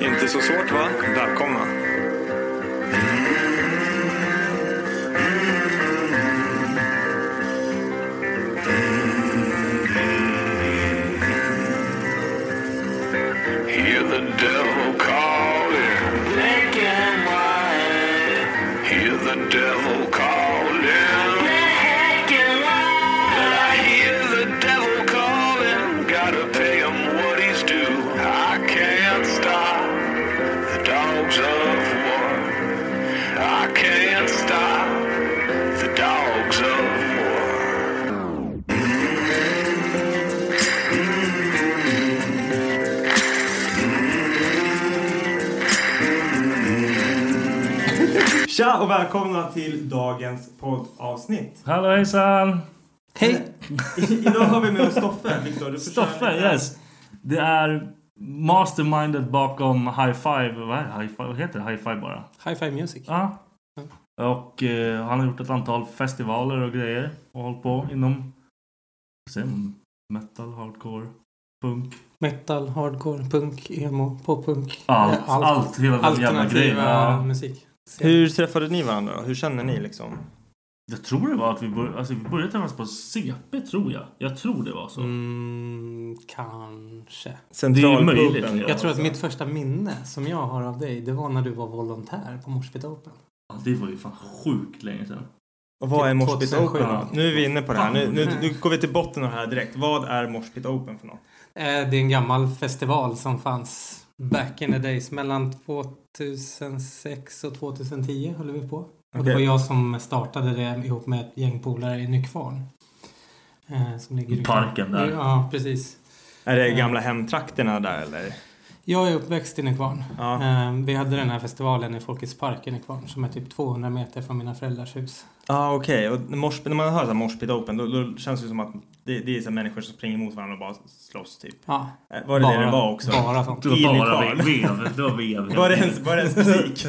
Inte så svårt va? Välkomna. Hear the devil calling. Black and white. Hear the devil calling. Black and white. I hear the devil calling. Gotta pay him what he's due. I can't stop the dogs of war. I can't stop the dogs of war. Tja och välkomna till dagens poddavsnitt. Hallå hejsan! Hej! Idag har vi med oss Stoffe. Viktor, du får köra Stoffe, lite. yes! Det är mastermindet bakom High Five. Vad, är det? High five? Vad heter det? High Five bara? High Five Music. Ja. Och eh, han har gjort ett antal festivaler och grejer och hållit på inom vad säger man? metal, hardcore, punk. Metal, hardcore, punk, emo, poppunk. Allt, Eh, allt, hela den jävla grejen. Alternativa Ja. musik. Hur träffade ni varandra då? Hur känner ni liksom? Jag tror det var att vi, bör, alltså, vi började träffas på CP tror jag. Jag tror det var så. Mm, kanske. Centralpuben. möjligt, ja. då? Jag tror att mitt första minne som jag har av dig, det var när du var volontär på Morspit Open. Ja, det var ju fan sjukt länge sedan. Och vad är Typ Moshpit 2007 Open? då? Nu är vi inne på det här. Nu, nu, Nej. nu går vi till botten av det här direkt. Vad är Moshpit Open för något? Eh, Det är en gammal festival som fanns back in the days. Mellan 2006 och 2010 höll vi på. Och det Okej. var jag som startade det ihop med ett gäng polare i Nykvarn. Eh, Som ligger I parken där. Ja, precis. Eh. Är det gamla hemtrakterna där eller? Jag är uppväxt i Nykvarn. Ja. Eh, Vi hade den här festivalen i Folkets park i Nykvarn som är typ 200 meter från mina föräldrars hus. Ja ah, okej, och Moshpit- när man hör så här Moshpit Open då, då känns det som att det, det är så här människor som springer mot varandra och bara slåss typ. Ja, Eh, Var det det det var också? Bara sånt. Det var bara Nykvarn. vev. Det var vev. Var det ens, var det ens musik?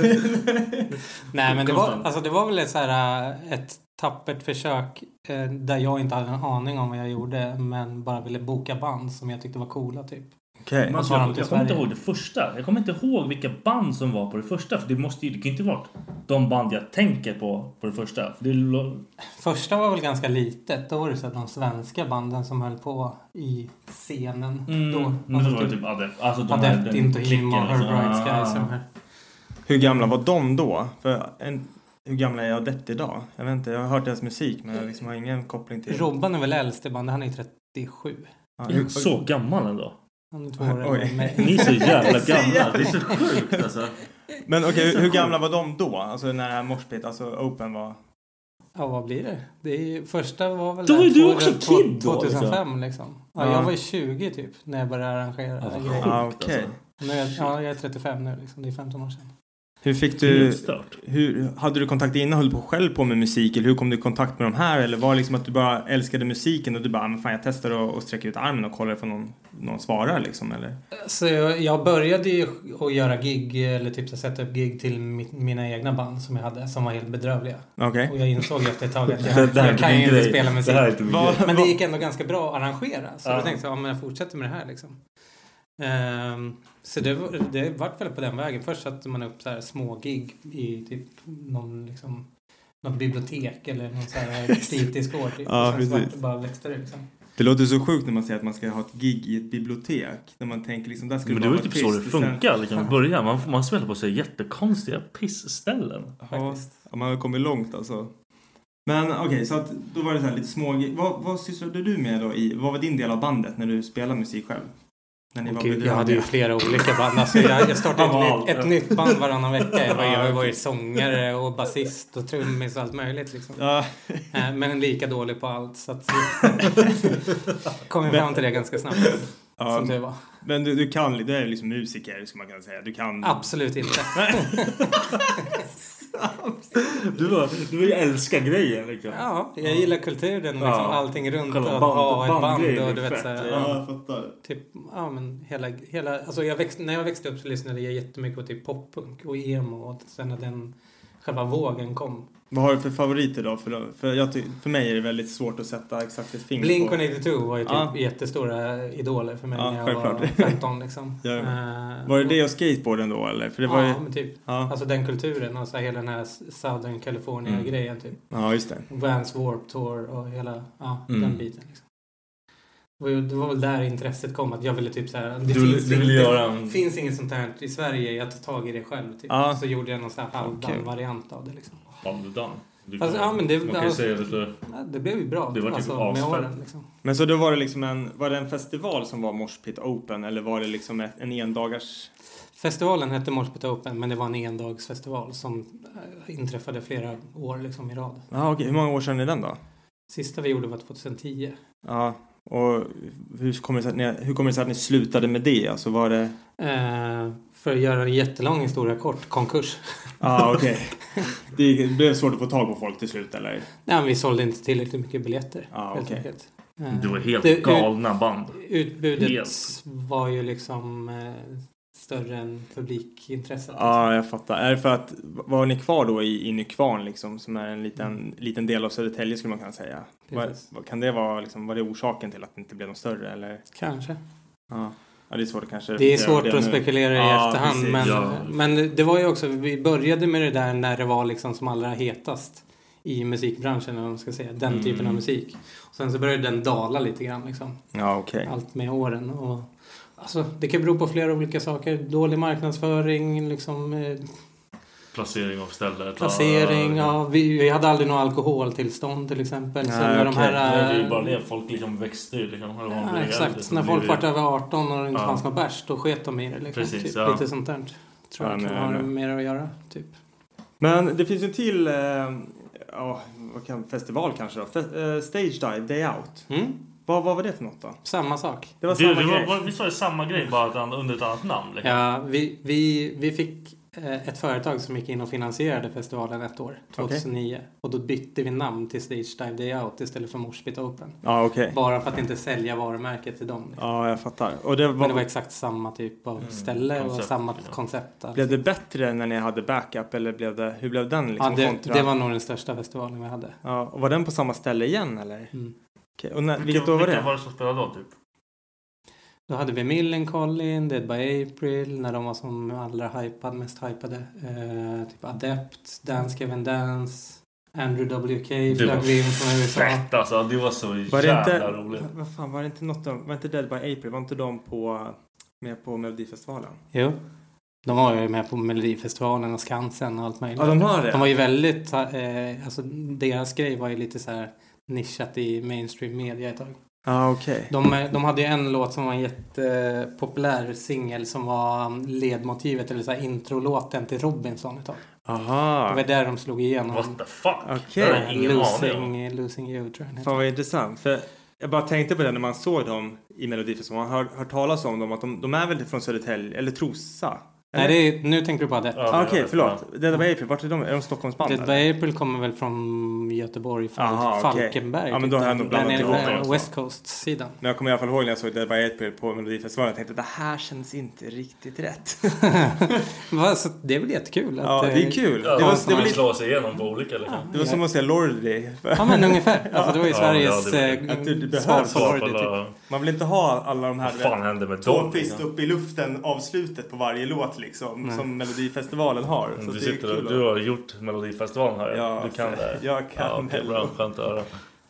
Nej, men det var, Konstant. alltså, det var väl ett, så här, eh, ett tappert försök eh, där jag inte hade en aning om vad jag gjorde men bara ville boka band som jag tyckte var coola typ. Okej. Men alltså, Och tar jag, jag dem till kommer inte Sverige. ihåg det första. Jag kommer inte ihåg vilka band som var på det första. För det, måste ju, det kan ju inte vara de band jag tänker på på det första. För det, lo- Första var väl ganska litet. Då var det så att de svenska banden som höll på i scenen då. nu Mm, Alltså, var det typ typ Adept. Alltså de här- Adept, den Intohim och klicken, Her liksom. Bright Ah. Skies. och de här. Hur gamla var de då? För en, hur gamla är Adept idag? Jag vet inte, jag har hört deras musik men jag liksom har ingen koppling till... Robban är väl äldst i bandet. Han är ju 37. Ja, hur- Så gammal ändå. Han är två år Oj. äldre än mig. Ni är så jävla gamla. Det är så sjukt alltså. Men okej, hur, hur gamla var de då? Alltså när det här morspit, alltså open var? Ja, vad blir det? det är, ju- första var väl Då där var ju du två- också två- kid då, 2005 liksom. liksom. Ja, Ja. Jag var ju 20 typ när jag började arrangera. Ja, vad grejer. sjukt, Ah, okej. alltså. Nu är jag, ja, jag är 35 nu liksom. Det är 15 år sedan. Hur fick du, Helt stört. hur, hade du kontakt innan, höll på själv på med musik eller hur kom du i kontakt med de här? Eller var det liksom att du bara älskade musiken och du bara, "Ah, men fan jag testar och, och sträcker ut armen och kollar ifall någon, någon svarar liksom eller? Så jag, jag började ju att göra gig eller typ så här, sätta upp gig till mitt, mina egna band som jag hade som var helt bedrövliga. Okej. Och jag insåg efter ett tag att Det jag, där är jag inte typ kan min ju inte grej. spela Det musik. här är inte min grej. men det gick ändå ganska bra att arrangera. Så Ja. jag tänkte jag, ja, men jag fortsätter med det här liksom. Ehm, så det, var- det vart väl på den vägen. Först satte man upp så här små gig i typ någon liksom något bibliotek eller någon så här fritidsgård. Typ. Ja, och sen så vart det precis. bara växte det liksom. Det låter så sjukt när man säger att man ska ha ett gig i ett bibliotek. När man tänker liksom, där skulle Men det man var ju vara typ så det artist och sen- funkar liksom i början. Man, man spelar på sig jättekonstiga pissställen. Ja, ja, man har kommit långt alltså. Men okej, så att då var det så här lite små vad, vad sysslade du med då i, vad var din del av bandet när du spelade musik själv? När var Åh, Gud, jag bedrövliga? hade ju flera olika band. Alltså, jag, jag startade Ja, ett, allt, nytt, ett ja. nytt band varannan vecka. Jag var, jag var ju okej. sångare och basist och trummis och allt möjligt. Liksom. Ja. Eh, Men lika dålig på allt. Så att, kom jag fram till det ganska snabbt. Ja, som det var. Men du, du kan, du är liksom musiker skulle man kunna säga. Du kan... Absolut inte. Du var, du vill älska grejen liksom. Ja, jag gillar kulturen och liksom Ja. allting runt Själva att band- ha ett band. bandgrejen Och är du vet, fett, så här, ja. Ja, jag fattar. Typ, ja, men hela, hela, alltså jag växt, när jag växte upp så lyssnade jag jättemycket på typ poppunk och emo. Och sen när den själva vågen kom. Vad har du för favoriter då? För, för, jag, ty- för mig är det väldigt svårt att sätta exakt ett finger på. Blink-182 var ju typ Ja. jättestora idoler för mig Ja, när jag var självklart. 15 liksom. Ja. Eh, Var det det och skateboarden då eller? För det var ja, ju... men typ. Ja. Alltså den kulturen och så här, hela den här Southern California-grejen Mm. typ. Ja, just det. Vans Warp Tour och hela ja, Mm. den biten. Liksom. Det var ju- Det var väl där intresset kom att jag ville typ så här. Det Du ville- du ville inget- göra det en- finns inget sånt här i Sverige. Jag tar tag i det själv typ. Ja. Så gjorde jag någon så här halvdan Okej. variant av det liksom. Halvdan? Du Fast, kan- ja, men det, alltså- man kan ju säga lite- ja, det blev ju bra. Det var typ med asfett. åren, liksom. Men så då var det liksom en, var det en festival som var Morspit Open eller var det liksom ett, en endagars... Festivalen hette Morsbyta Open men det var en endagsfestival som eh, inträffade flera år liksom, i rad. Ja, okej. Hur många år sedan är den då? Sista vi gjorde var 2010. Ja, och hur kommer det sig att ni, hur kommer det sig att ni slutade med det? Alltså var det... Eh, för att göra en jättelång historia kort, konkurs. Ja, okej. Det blev svårt att få tag på folk till slut eller? Nej, men vi sålde inte tillräckligt mycket biljetter. Ja, helt okej. enkelt. Eh, Det Ah, var helt Mm. Det- ut- galna band. Utbudet Helt. var ju liksom eh, större än publikintresset. Ah. Ja, jag fattar. Är det för att, var ni kvar då i, i Nykvarn liksom, som är en liten, liten del av Södertälje skulle man kunna säga? Var, Mm. Precis. var, kan det vara liksom, var det orsaken till att det inte blev något större eller? Kanske. Ja, ja det är svårt att kanske. Det är reflektera över svårt att nu. spekulera i Ja, efterhand. precis. Men, Ja. men det var ju också, vi började med det där när det var liksom som allra hetast i musikbranschen, eller vad man ska säga. Den Mm. typen av musik. Och sen så började den dala lite grann liksom. Ja, okej. Allt med åren. Och, alltså, det kan bero på flera olika saker. Dålig marknadsföring, liksom, eh, Placering av stället. placering. Ja, vi, vi hade aldrig något alkoholtillstånd till exempel. Nej, sen när de okej. här, Nej, det är eh, ju bara det. Folk liksom växte ju. Liksom, när de var Ja, äldre, exakt. liksom. när Det folk är- vart över 18 och det inte Ja. fanns något bärs, då sket de i det. Liksom, Precis, typ. ja. Lite sånt där. Tror Ja, jag kan nej, ha nej. mer att göra. Typ. Men det finns ju en till eh, ja, vad kan, festival kanske då? Fe- eh, stage Dive Day Out. Vad, vad var det för något då? Samma sak. Det var du, samma det grej. var, var, vi sa ju samma grej bara att han- under ett annat namn. Liksom. Ja, vi, vi, vi fick eh, ett företag som gick in och finansierade festivalen ett år, 2009. Och då bytte vi namn till Stage Dive Day Out istället för Morsbit Open. Ja, okej. Bara för att inte sälja varumärket till dem. Ja, jag fattar. Och det var, Men det var exakt samma typ av ställe och koncept, samma koncept. Blev det bättre när ni hade backup eller blev det, hur blev den liksom? ja, det, kontra- det var nog den största festivalen vi hade. Ja, och var den på samma ställe igen eller? Mm. Okej, och när, vilket år var Vilka var det? det som spelade då typ? Då hade vi Millencolin, Dead by April, när de var som allra hypade, mest hypade. Eh, typ Adept, Dance Kevin Dance, Andrew WK flög vi in från USA. fett alltså. Det var så Var det jävla inte, roligt. vad fan, var det inte något de, var inte Dead by April, var inte de på, med på Melodifestivalen? Jo. De var ju med på Melodifestivalen och Skansen och allt möjligt. Ja, de var det. De var ju väldigt, eh, alltså deras grej var ju lite så här nischat i mainstream media ett tag. Ah, okej. De, eh, de hade ju en låt som var en jättepopulär singel som var mm, ledmotivet eller så här introlåten till Robinson ett tag. Aha. Det var där de slog igenom. What the fuck? Okej. Det var Losing, losing you tror jag den heter. Fan vad intressant. För jag bara tänkte på det när man såg dem i Melodifestivalen. Man har hört talas om dem att de, de är väl från Södertälje eller Trosa? Nej, det är, nu tänker du på Adept. Ja, ah, Okej, förlåt. Dead by April, vart är de? Är de Stockholmsband? Dead by April kommer väl från Göteborg, Fal- Aha, okej. Falkenberg. typ Ja, men då har jag nog blandat ihop det ihop också. West Coast-sidan. Men jag kommer i alla fall ihåg när jag såg Dead by April på Melodifestivalen. Jag tänkte det här känns inte riktigt rätt. Va, så det är väl jättekul? Att, Ja, det är eh, kul. det Ja, var, det var, konstnärer- lite, slå sig igenom på olika liksom. det var som att se Lordi. Ja, men ungefär. Alltså, det var ju Ja, Sveriges, ja, det eh, var- Att det, det svar på behövs. Lordi, typ. Man vill inte ha alla de här... Vad fan hände med Två dem, fist liksom? upp i luften avslutet på varje låt liksom. Nej. Som Melodifestivalen har. Så Du, det är sitter kul och, att- du har gjort Melodifestivalen här. Ja, du kan alltså, det. jag kan ja, det. det. Bra, skönt att höra.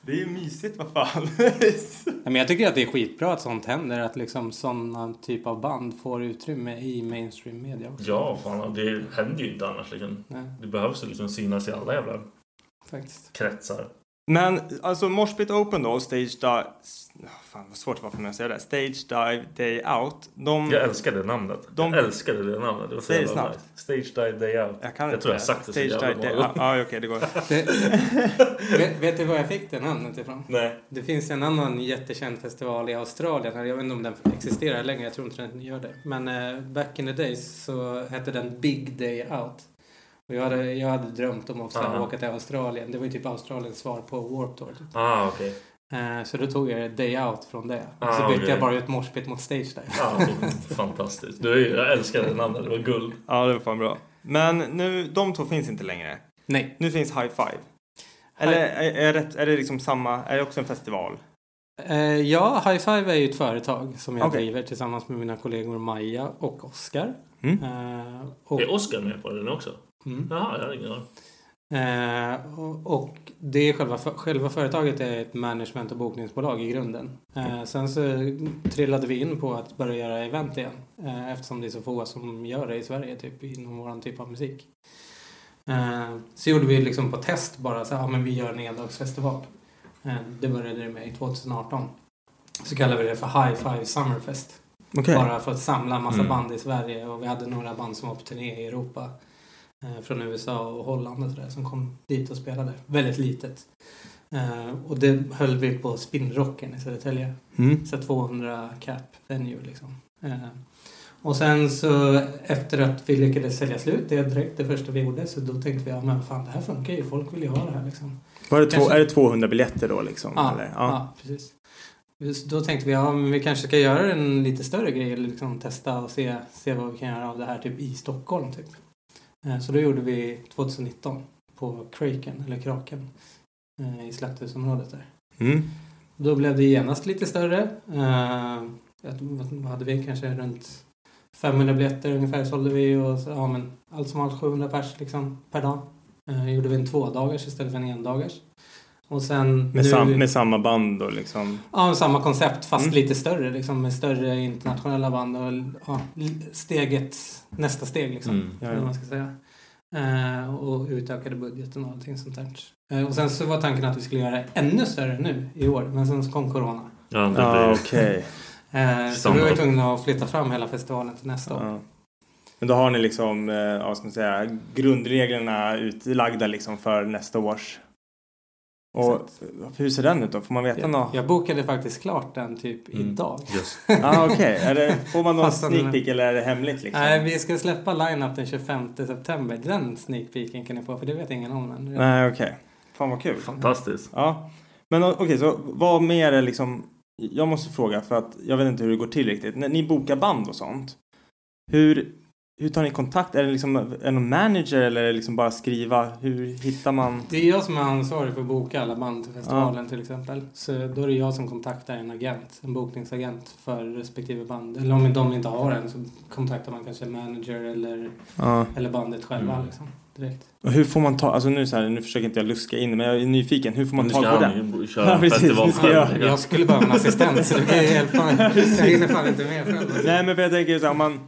Det är ju mysigt, vad fan. Nej, men jag tycker att det är skitbra att sånt händer. Att liksom sådana typ av band får utrymme i mainstream media också. Ja, fan, det händer ju inte annars. Liksom. Nej. Det behövs ju liksom synas i alla jävla Faktiskt. kretsar. Men alltså Moshpit Open då och Stage Dive... Fan vad svårt det var för mig att säga det. Stage Dive Day Out. De... Jag älskar det namnet. De- Jag älskade det namnet. Det var så Säg det jävla snabbt. nice. Stage Dive Day Out. Jag kan inte tror det. jag har sagt det så Stage jävla Dive Day många Out. Ja, okej, det går. Det, vet, vet du var jag fick det namnet ifrån? Nej. Det finns en annan jättekänd festival i Australien. eller Jag vet inte om den existerar längre. Jag tror inte den gör det. Men eh, back in the days så hette den Big Day Out. Och jag hade, jag hade drömt om att så här Aha. åka till Australien. Det var ju typ Australiens svar på Warped Tour. Typ. Ah, okej. Eh, Så då tog jag Day Out från det. Ah, så bytte okej. jag bara ut morspit mot stage där. Ah, okej. Fantastiskt. Du, är ju- jag älskar det namnet. Det var guld. Ja, det var fan bra. Men nu, de två finns inte längre. Nej. Nu finns High Five. Eller är, är, det, är det liksom samma, är det också en festival? Eh, ja, High Five är ju ett företag som jag Okej. driver tillsammans med mina kollegor Maja och Oskar. Mm. Eh, och, Är Oscar med på den också? Mm. Jaha, jag har ingen aning. eh, och, och det är själva, för- själva företaget är ett management och bokningsbolag i grunden. Eh, sen så trillade vi in på att börja göra event igen. Eh, eftersom det är så få som gör det i Sverige typ, inom vår typ av musik. Eh, så gjorde vi liksom på test bara så här, ja, men vi gör en endagsfestival. Eh, det började det med i 2018. Så kallade vi det för High Five Summerfest. Okej. Bara för att samla en massa Mm. band i Sverige och vi hade några band som var på turné i Europa. Eh, från USA och Holland och sådär som kom dit och spelade. Väldigt litet. Eh, och det höll vi på Spinnrocken i Södertälje. Mm. Så 200 cap venue liksom. Eh, och sen så efter att vi lyckades sälja slut det direkt det första vi gjorde så då tänkte vi ja men fan det här funkar ju. Folk vill ju ha det här liksom. Var det två, Kanske- är det 200 biljetter då liksom? Ja, eller? ja. precis. Just då tänkte vi ja, men vi kanske ska göra en lite större grej. eller Liksom testa och se, se vad vi kan göra av det här typ i Stockholm. Typ. Eh, Så då gjorde vi 2019 på Kraken, eller Kraken, eh, i Slakthusområdet där. Mm. Då blev det genast lite större. Eh, jag tror- vad- Vad hade vi? Kanske runt 500 biljetter ungefär sålde vi. Och så, ja, men allt som allt 700 pers liksom, per dag. Eh, gjorde vi en tvådagars istället för en endagars. Och sen Med, nu- sam, med samma band då liksom? Ja, men samma koncept fast Mm. lite större. Liksom, med större internationella band och ja, l- steget, nästa steg liksom. Mm. Ja, ja. Eller vad man ska säga. Eh, och utökade budgeten och allting sånt där. Eh, och sen så var tanken att vi skulle göra det ännu större nu i år. Men sen så kom corona. Ja, det ah, blir- okej. Eh, så vi var ju tvungna att flytta fram hela festivalen till nästa år. Ja. Men då har ni liksom, eh, ja, vad ska man säga, grundreglerna utlagda liksom för nästa års. Och eh, hur ser den ut då? Får man veta Jag, något? jag bokade faktiskt klart den typ Mm. Mm. idag. Ah, okej. Är det- Får man någon Fast den- sneak peek eller är det hemligt liksom? Nej, Eh, vi ska släppa line-up den 25 september. Den sneak peeken kan ni få, för det vet ingen om än. Nej, okej. Fan vad kul. Fantastiskt. Ja. Men o- okej, så vad mer är liksom... Jag måste fråga för att jag vet inte hur det går till riktigt. När ni bokar band och sånt, hur, hur tar ni kontakt? Är det liksom är det någon manager eller är det liksom bara skriva? Hur hittar man? Det är jag som är ansvarig för att boka alla band till festivalen till exempel. Så då är det jag som kontaktar en agent, en bokningsagent för respektive band. Eller om de inte har en så kontaktar man kanske en manager eller, Ja. eller bandet själva Mm. liksom. Direkt. Och hur får man ta, alltså nu så här, nu försöker inte jag luska in men jag är nyfiken, hur får man Nu tag ska på han det? ju köra en festival nu ska jag- själv. Jag skulle behöva en assistent så det kan ju hjälpa mig. Jag hinner fan inte med själv. Nej men för jag tänker så här, om man,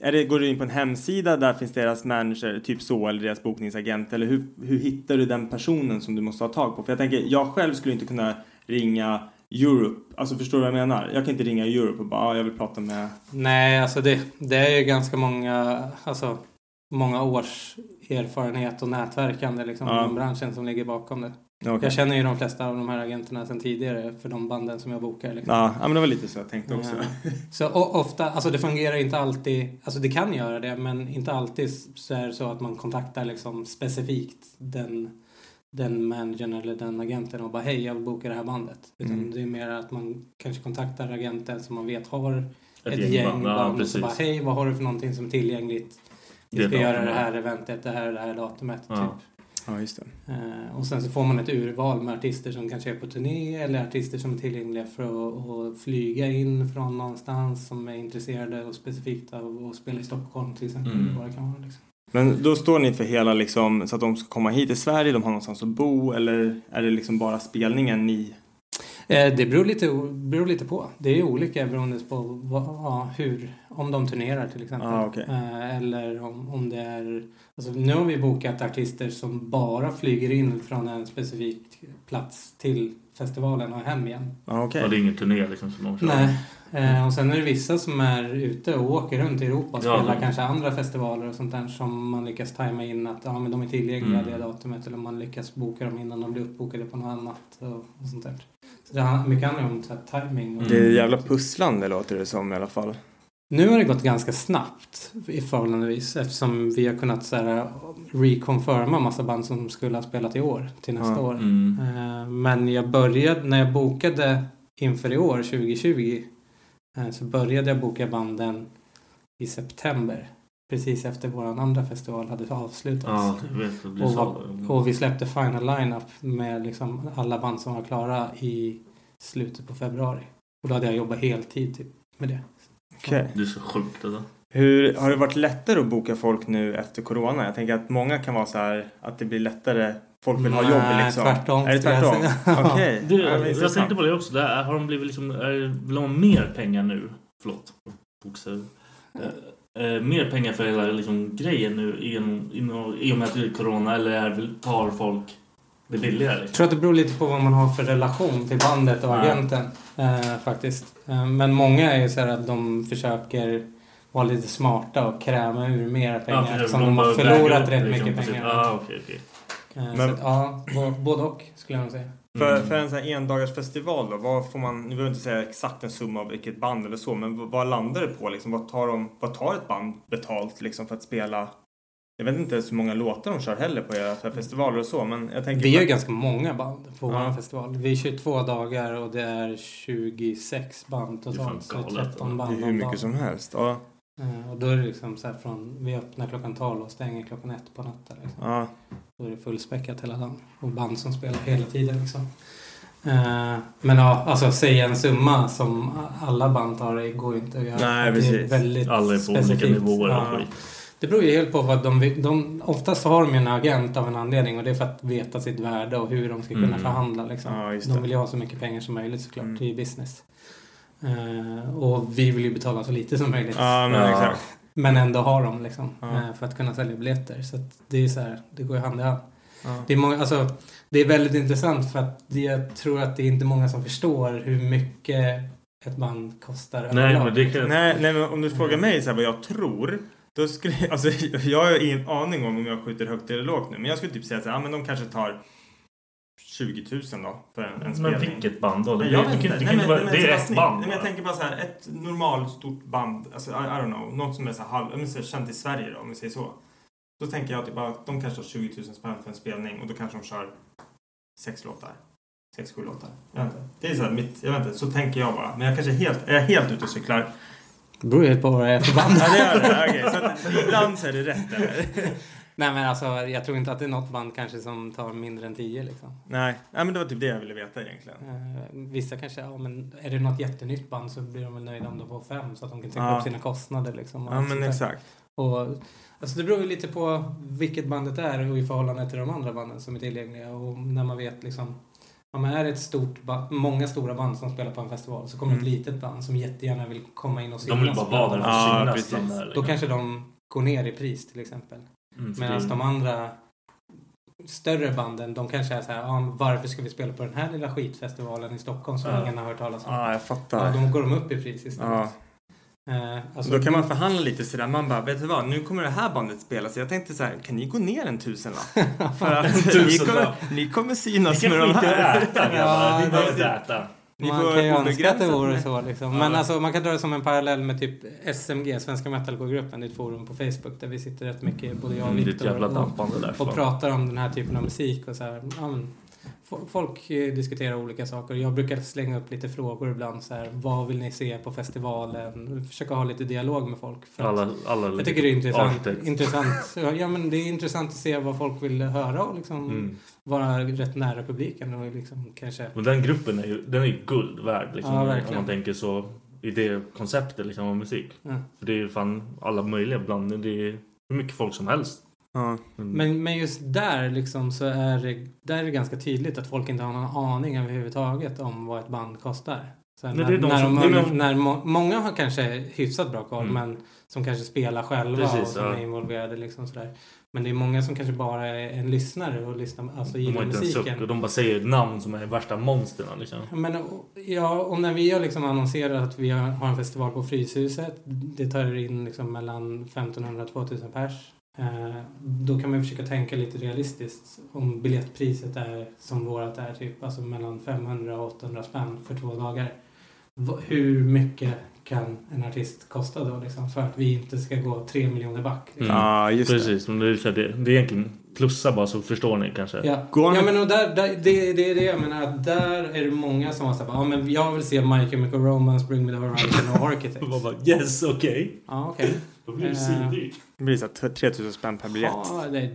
är det, går du in på en hemsida där finns deras manager, typ så, eller deras bokningsagent, eller hur, hur hittar du den personen som du måste ha tag på? För jag tänker, jag själv skulle inte kunna ringa Europe. Alltså förstår du vad jag menar? Jag kan inte ringa Europe och bara ah, jag vill prata med... Nej, alltså det, det är ju ganska många, alltså, många års erfarenhet och nätverkande liksom, Ja. inom branschen som ligger bakom det. Ja, okej. Jag känner ju de flesta av de här agenterna sedan tidigare för de banden som jag bokar. Liksom. Ja, ja, men det var lite så jag tänkte också. Ja. Så o- ofta, alltså det fungerar inte alltid, alltså det kan göra det, men inte alltid så är det så att man kontaktar liksom specifikt den, den managern eller den agenten och bara hej, jag vill boka det här bandet. Utan Mm. det är mer att man kanske kontaktar agenten som man vet har ett, Ett gäng, gäng band, band, ja, och precis. så bara hej, vad har du för någonting som är tillgängligt? Vi Det ska göra det datumet. här eventet, det här det här datumet. Ja. Typ. Ja, just det. Eh, Och sen så får man ett urval med artister som kanske är på turné eller artister som är tillgängliga för att, att flyga in från någonstans som är intresserade och specifikt av att spela i Stockholm till exempel. Mm. eller Vad det kan vara, liksom. Men då står ni för hela liksom, så att de ska komma hit till Sverige, de har någonstans att bo eller är det liksom bara spelningen ni... Eh, Det beror lite, beror lite på. Det är olika beroende på vad, ja, hur, om de turnerar till exempel. Ah, okej. Eh, Eller om, om det är, alltså nu har vi bokat artister som bara flyger in från en specifik plats till festivalen och hem igen. Ja, okej. Och det är ingen turné liksom som de kör. Nej. Eh, och sen är det vissa som är ute och åker runt i Europa och Ja, spelar de- kanske andra festivaler och sånt där som man lyckas tajma in att ja, men de är tillgängliga Mm. det datumet eller man lyckas boka dem innan de blir uppbokade på något annat och, och sånt där. Så det handlar mycket handlar om så här, timing. Och... Det är jävla pusslande låter det som i alla fall. Nu har det gått ganska snabbt i förhållandevis eftersom vi har kunnat så här, reconfirma massa band som skulle ha spelat i år till nästa Ja, år. mm. Eh, Men jag började, när jag bokade inför i år 2020 eh, så började jag boka banden i september. Precis efter vår andra festival hade avslutats. Ja, jag vet. Det blir och, så. var, och vi släppte final lineup med liksom alla band som var klara i slutet på februari. Och då hade jag jobbat heltid typ, med det. Okej. Det är så sjukt alltså. Hur, har det varit lättare att boka folk nu efter corona? Jag tänker att många kan vara så här att det blir lättare. Folk vill ha Nej, jobb liksom. tvärtom, Är det skulle jag tvärtom? säga. Okej. Du, Ja, men jag intressant. tänkte på det också. Där, har de blivit liksom, är, vill de ha mer pengar nu? Förlåt. Boxar. Eh, eh, mer pengar för hela liksom, grejen nu genom, inom, i och med att det är corona eller är, väl- tar folk det billigare? Jag Liksom. tror att det beror lite på vad man har för relation till bandet och Ja. agenten eh, faktiskt. Eh, men många är ju så här att de försöker vara lite smarta och kräma ur mer pengar för eftersom de de har bara väger förlorat upp, rätt liksom, mycket precis. pengar. Ah, okej, okej. Eh, så Men- att, ja, bo- både och skulle jag nog säga. För, för en sån här endagarsfestival då, vad får man, nu behöver jag inte säga exakt en summa av vilket band eller så, men v- vad landar det på liksom? Vad tar, de, vad tar ett band betalt liksom för att spela? Jag vet inte ens hur många låtar de kör heller på era så här festivaler och så, men jag tänker... Vi är på- ju ganska många band på Ja. vår festival. Vi är 22 dagar och det är 26 band Det är fan totalt. Så det är galet. alltså. 13 Det band är hur om mycket dagen. som helst. Ja. Eh, Och då är det liksom så här från vi öppnar klockan 12 och stänger klockan 1 på natten. Liksom. ja. Då är det fullspäckat hela dagen. Och band som spelar hela tiden liksom. Eh, Men ja, alltså säga en summa som alla band tar det går ju inte att göra. Nej, Det är precis. väldigt Alla är på olika specifikt. nivåer och Ja. skit. Det beror ju helt på vad de, vill- de Oftast har de ju en agent av en anledning och det är för att veta sitt värde och hur de ska kunna Mm. förhandla. Liksom. Ja, just det. Mm. de vill ju ha så mycket pengar som möjligt såklart. Det är ju business. Eh, och vi vill ju betala så lite som möjligt. ja, men Ja. exakt. Men ändå har de liksom. Ja. eh, För att kunna sälja biljetter. Så att det är så här, det går ju hand i hand. Ja. Det är, många, alltså, det är väldigt intressant för att det, jag tror att det är inte många som förstår hur mycket ett band kostar Nej, Mm. men det kan... Nej, nej, men om du frågar mig så här vad jag tror. Då skulle, alltså, jag har ingen aning om om jag skjuter högt eller lågt nu. Men jag skulle typ säga så här, ja, men de kanske tar 20 000 då för en, en Men spelning. vilket band då? Det, Nej, jag det, vet kan- inte. det, Nej, kan men- inte vara- nej, men det är ett Sebastian, band. Nej, men jag bara. tänker bara så här, ett normalt stort band, alltså I, I don't know, något som är så här halv, om vi säger känt i Sverige då, om vi säger så. Då tänker jag typ att de kanske har 20 000 spänn för en spelning och då kanske de kör sex låtar. Sex, sju låtar. Jag vet inte. Det är så här mitt, jag vet inte, så tänker jag bara. Men jag kanske är helt, är jag helt ute och cyklar. Det beror helt på vad det är för band. Ja, det gör det. Okej, så att ibland så är det rätt eller? Nej men alltså jag tror inte att det är något band kanske som tar mindre än 10 liksom. Nej, nej, men det var typ det jag ville veta egentligen. Eh, Vissa kanske, ja men är det något jättenytt band så blir de väl nöjda om de får fem så att de kan täcka Ja. upp sina kostnader liksom. och Ja, allt men sånt där. exakt. Och, alltså det beror ju lite på vilket bandet är och i förhållande till de andra banden som är tillgängliga. Och när man vet liksom, om man är ett stort ba- många stora band som spelar på en festival så kommer Mm. ett litet band som jättegärna vill komma in och De vill synas bara på vara där bandet. och Ja, synas. precis. de där, Då liksom. kanske de går ner i pris till exempel. Mm, för Medan det- de andra större banden, de kanske är så här, "Ah, varför ska vi spela på den här lilla skitfestivalen i Stockholm som Ja. ingen har hört talas om? Ja, jag fattar. Ja, då går de upp i pris istället. Ja. Eh, alltså- Då kan man förhandla lite sådär. Man bara, vet du vad, nu kommer det här bandet spelas. Jag tänkte så här, kan ni gå ner en tusenlapp? För En att ni tusenlapp. kommer, ni kommer synas Ni kan med de skita i här. att äta, grabbar. Ni behöver inte äta. Ni man får kan ju önska att det obegränsat vore med- så liksom. Ja. Men alltså man kan dra det som en parallell med typ SMG, Svenska Metalcore-gruppen, det är ett forum på Facebook där vi sitter rätt mycket, både jag och Mm, det är ett Viktor jävla dampande där, och, fan. och pratar om den här typen av musik och så här. Ja, men, fo- folk eh, diskuterar olika saker. Jag brukar slänga upp lite frågor ibland så här, vad vill ni se på festivalen? Försöka ha lite dialog med folk. För Alla- att alla lite jag tycker det är intressant. architects. intressant ja, men det är intressant att se vad folk vill höra och liksom Mm. vara rätt nära publiken och liksom kanske Och den gruppen är ju, den är ju guld värd liksom, Ja, om verkligen. man tänker så i det konceptet liksom, av musik. Ja. För det är ju fan alla möjliga bland det är hur mycket folk som helst. Mm. Men, men just där liksom så är det, där är det ganska tydligt att folk inte har någon aning överhuvudtaget om vad ett band kostar. Så här, Nej, när, det är de när, som- de, det är när, de- må, många har kanske hyfsat bra koll Mm. men som kanske spelar själva och Precis, som ja. är involverade liksom sådär. Men det är många som kanske bara är en lyssnare och lyssnar, alltså De har gillar inte ens musiken. suck och de bara säger namn som är värsta monstren. Liksom. Ja, Men, och- ja, och när vi har liksom annonserat att vi har har en festival på Fryshuset, det tar in liksom mellan 1500 och 2000 pers. Eh, Då kan man ju försöka tänka lite realistiskt om biljettpriset är som vårat är, typ, alltså mellan 500 och 800 spänn för två dagar. Va- Hur mycket kan en artist kosta då liksom, för att vi inte ska gå tre miljoner back? Mm. Liksom? Precis, men det, är så här, det, det är egentligen plussa bara så förstår ni kanske. Ja, Går ja ni- men och där, där, det, det är det jag menar. Att där är det många som har sagt ja men jag vill se My Chemical Romance, Bring Me The Horizon och Architects. Man bara, yes, okej. Ja, okej. Då blir det Eh, svindyrt. Det blir så här 3000 spänn per biljett. Ja, det är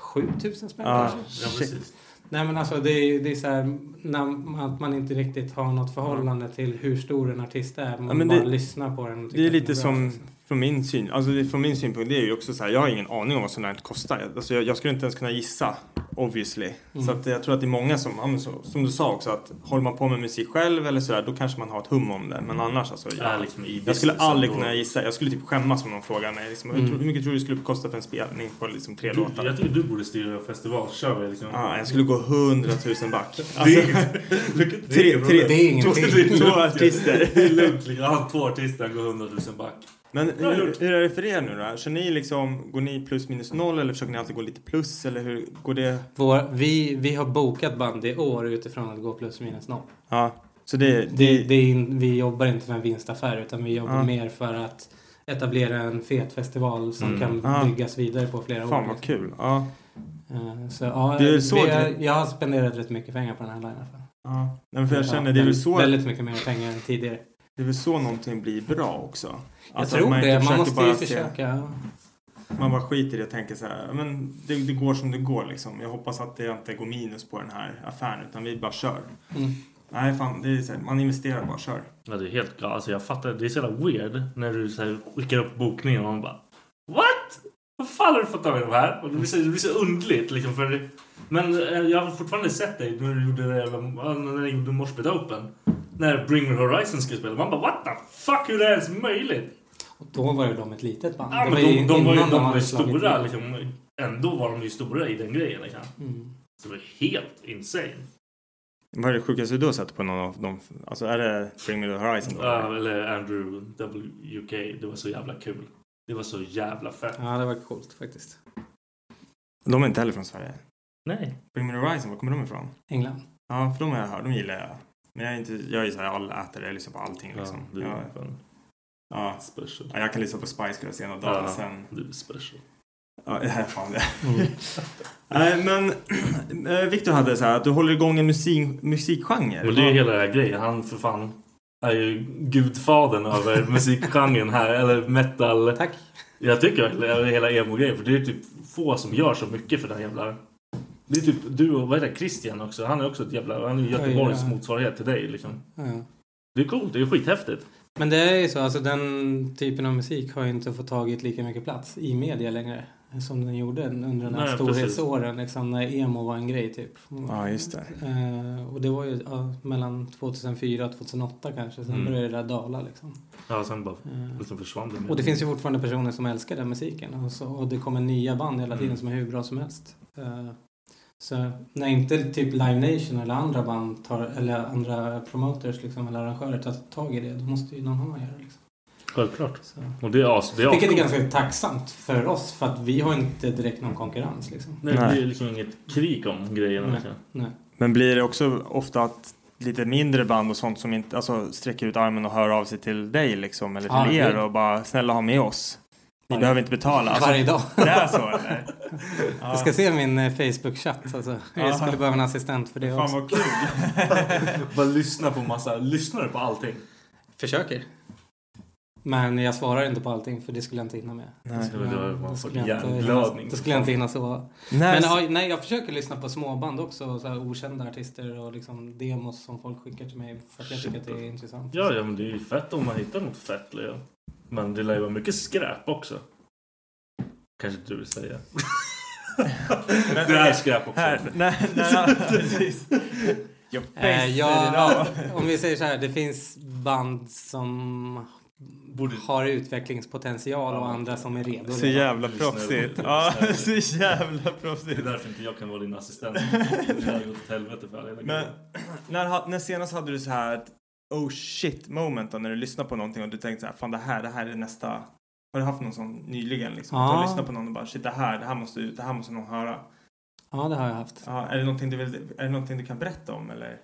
7000 spänn Ja, kanske. ja, precis. Nej men alltså det är, det är så här när, man- att man inte riktigt har något förhållande till hur stor en artist är. Man Ja, men bara det- lyssnar på den. och tycker Det är att lite bra. som från min, syn, alltså det, från min synpunkt, det är ju också så här, jag har ingen aning om vad sånt här kostar. Alltså jag, jag skulle inte ens kunna gissa, obviously. Mm. Så att jag tror att det är många som, ja, men så, som du sa också, att håller man på med musik själv eller sådär, då kanske man har ett hum om det. Men annars alltså, Mm. Ja, jag, liksom i jag skulle businessen aldrig då. kunna gissa. Jag skulle typ skämmas om någon frågar mig. Liksom, hur, Mm. hur mycket tror du det skulle kosta för en spelning på liksom tre Du, låtar? jag tycker du borde styra festivalshowen. Liksom. Ja, jag skulle gå 100 000 back. Det är- Alltså, Lycka till, tre, bror. tre, Det är ingenting. två- Två artister. Det är lugnt, liksom. Han har två artister, han går 100 000 back. Men Bra hur, hur är det för er nu då? Kör ni liksom, går ni plus minus noll eller försöker ni alltid gå lite plus eller hur går det? Vår, vi, vi har bokat band i år utifrån att gå plus minus noll. Ja, så det, Mm, det, det är, in- vi jobbar inte för en vinstaffär utan vi jobbar Ja. mer för att etablera en fet festival som Mm. kan Ja. byggas vidare på flera år. Fan vad liksom. kul. Ja. Eh, Så, ja, Det är väl vi så har, det- jag har spenderat rätt mycket pengar på den här line-upen. Ja. Nej, men för jag Ja, känner det är väl väldigt- så. Väldigt mycket mer pengar än tidigare. Det är väl så någonting blir bra också. Jag Alltså, tror att det. inte Man försöker måste ju bara se- försöka. ja. Man bara skiter i det och tänker så här, men det, det går som det går liksom. Jag hoppas att det inte går minus på den här affären utan vi bara kör. Mm. Nej fan, det är så här, man investerar bara, kör. Ja, det är helt galet. Alltså, jag fattar. Det är så jävla weird när du så här, skickar upp bokningen och man bara What? Vad fan har du fått tag i de här? Och det, blir så, det blir så underligt. Liksom, för, men eh, jag har fortfarande sett dig när du gjorde, det jävla- ja, när du gjorde Morsbit Open. När Bring Me Horizon skulle spela. Man bara what the fuck? Hur är det ens möjligt? Och då var ju de ett litet band. Ja, Det men ju de, de var ju innan de var ju hade slagit stora. igenom. Liksom, ändå var de ju stora i den grejen. Liksom. Mm. Så det var helt insane. Vad är det sjukaste du har sett på någon av dem? Alltså är det Bring Me The Horizon då? Ja, eller Andrew WK. Det var så jävla kul. Det var så jävla fett. Ja, det var coolt faktiskt. De är inte heller från Sverige? Nej. Bring Me The Horizon, var kommer de ifrån? England. Ja, för de har jag hört, de gillar jag. Men jag är, inte, jag är så här allätare, jag lyssnar på allting Ja, liksom. du är jag, fan ja. special. ja, jag kan lyssna på Spice Girls ena dagen och sen... Du är special. Ja, jag är fan det. Nej, men eh, Victor hade så här att du håller igång en musik, musikgenre. Men det är ju hela den här grejen. Han för fan är ju gudfadern över musikgenren här. Eller metal. Tack. Jag tycker verkligen över hela emo-grejen. För det är typ få som gör så mycket för den jävla... Det är typ du och vad heter det, Christian också. Han är också ett jävla... Han är ju Göteborgs Ja, ja. motsvarighet till dig liksom. Ja. Det är coolt. Det är skithäftigt. Men det är ju så, alltså den typen av musik har ju inte fått tagit lika mycket plats i media längre som den gjorde under den här Nej, storhetsåren, liksom, när emo var en grej typ. Ja, just det. Eh, och det var ju ja, mellan 2004 och 2008 kanske, sen Mm. började det där dala liksom. Ja, sen bara Mm. liksom försvann det. Och det finns ju fortfarande personer som älskar den musiken och, så, och det kommer nya band hela tiden Mm. som är hur bra som helst. Eh, Så när inte typ Live Nation eller andra band tar, eller andra promoters liksom, eller arrangörer tar tag i det, då måste ju någon annan göra det. Liksom. Självklart. Och det är as... Det är Vilket är ascoolt. ganska tacksamt för oss, för att vi har inte direkt någon konkurrens. Liksom. Nej, det är liksom inget krig om grejerna. liksom. Nej. verkligen. Nej. Men blir det också ofta att lite mindre band och sånt som inte alltså, sträcker ut armen och hör av sig till dig liksom, eller till Ja, er det- och bara snälla ha med oss. Ni Varje- behöver inte betala. Alltså, Varje dag. Det är så eller? Du ska se min eh, Facebook-chatt. Alltså. Jag skulle behöva en assistent för det Fan, också. vad kul. Bara lyssna på massa... Lyssnar du på allting? Försöker. Men jag svarar inte på allting för det skulle jag inte hinna med. Nej. Det skulle Det jag- var- man det får skulle jag inte- hjärnblödning. Det skulle jag inte hinna sova. När- Men ja, nej, jag försöker lyssna på småband också. Så här, okända artister och liksom demos som folk skickar till mig för att jag tycker att det är intressant. Ja, ja, men det är ju fett om man hittar något fett. Leo. Men det lär ju vara mycket skräp också. Kanske du vill säga. det är skräp också. Här, nej, nej, nej, precis. Jag Eh, idag. ja, om vi säger så här, det finns band som har utvecklingspotential och andra som är redo. Så redan. jävla proffsigt. Ja, så jävla Det är proffsigt. därför inte jag kan vara din assistent. Det här har gått åt helvete för alla. Men när, ha- när senast hade du så här ett oh shit moment då, när du lyssnar på någonting och du tänkte så här fan det här, det här är nästa. Har du haft någon sån nyligen liksom? Att du Ja. har lyssnat på någon och bara shit det här, det här måste ut, det här måste någon höra. Ja, det har jag haft. Ja, är, det någonting du vill, är det någonting du kan berätta om eller?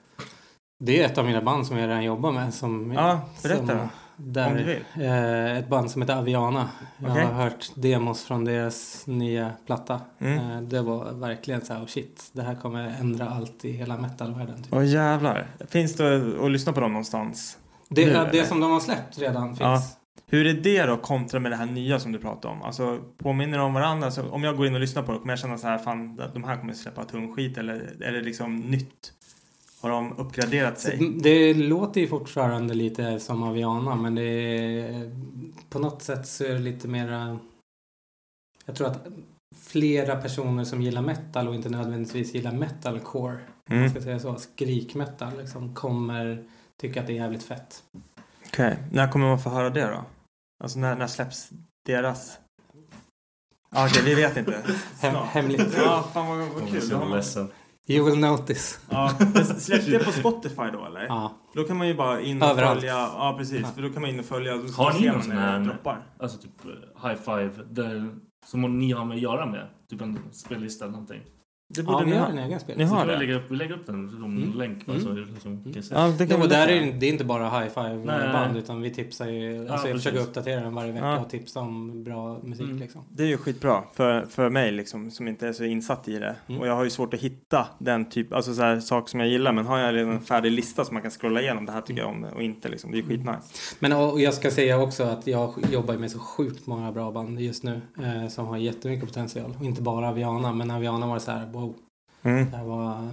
Det är ett av mina band som jag redan jobbar med. Som, Ja, berätta som, då. där, Om du vill. Eh, ett band som heter Aviana. Okej. Jag har hört demos från deras nya platta. Mm. Eh, det var verkligen så här, oh shit, det här kommer ändra allt i hela metalvärlden. Typ. Åh jävlar. Finns det att lyssna på dem någonstans? Det, Nu, det eller? som de har släppt redan finns. Ja. Hur är det då kontra med det här nya som du pratar om? Alltså påminner de om varandra? Alltså, om jag går in och lyssnar på det, kommer jag känna så här fan de här kommer släppa tung skit eller är det liksom nytt? Har de uppgraderat sig? Mm, Det låter ju fortfarande lite som Aviana men det är, på något sätt så är det lite mera... Jag tror att flera personer som gillar metal och inte nödvändigtvis gillar metalcore, om man Mm. ska säga så, skrikmetal liksom, kommer tycka att det är jävligt fett. Okej, när kommer man få höra det då? Alltså när, när släpps deras? Ja, Okej, vi vet inte. Hem, Snart. hemligt. Ja, fan vad, vad Jag blir kul. så Då har man- ledsen. You will notice. Ja, men släpps det på Spotify då eller? Ja. Då kan man ju bara in och Överallt. följa. Ja, precis. För då kan man in och följa. och så Har ni ser någon man sån när det här- droppar. Alltså typ eh, high five. Där, som ni har med att göra med. Typ en spellista eller någonting. Det Ja, vi ni har ha. en egen spel. Ni Så har kan vi, det? lägga upp, vi lägger upp den som Mm. länk. Mm. Alltså, liksom, kan jag säga. Ja, det Nej, kan men man där lägga. är det, det är inte bara high five Nej. band utan vi tipsar ju, Ja, alltså jag försöker precis. uppdatera den varje vecka Ja. och tipsa om bra musik Mm. liksom. Det är ju skitbra för, för mig liksom, som inte är så insatt i det. Mm. Och jag har ju svårt att hitta den typ, alltså så här, sak som jag gillar. Men har jag redan en färdig lista som man kan scrolla igenom, det här tycker jag om och inte liksom. Det är ju skitnice. Men och och jag ska säga också att jag jobbar ju med så sjukt många bra band just nu eh, som har jättemycket potential. Och inte bara Aviana, men Aviana var så här, wow, Mm. det här var eh,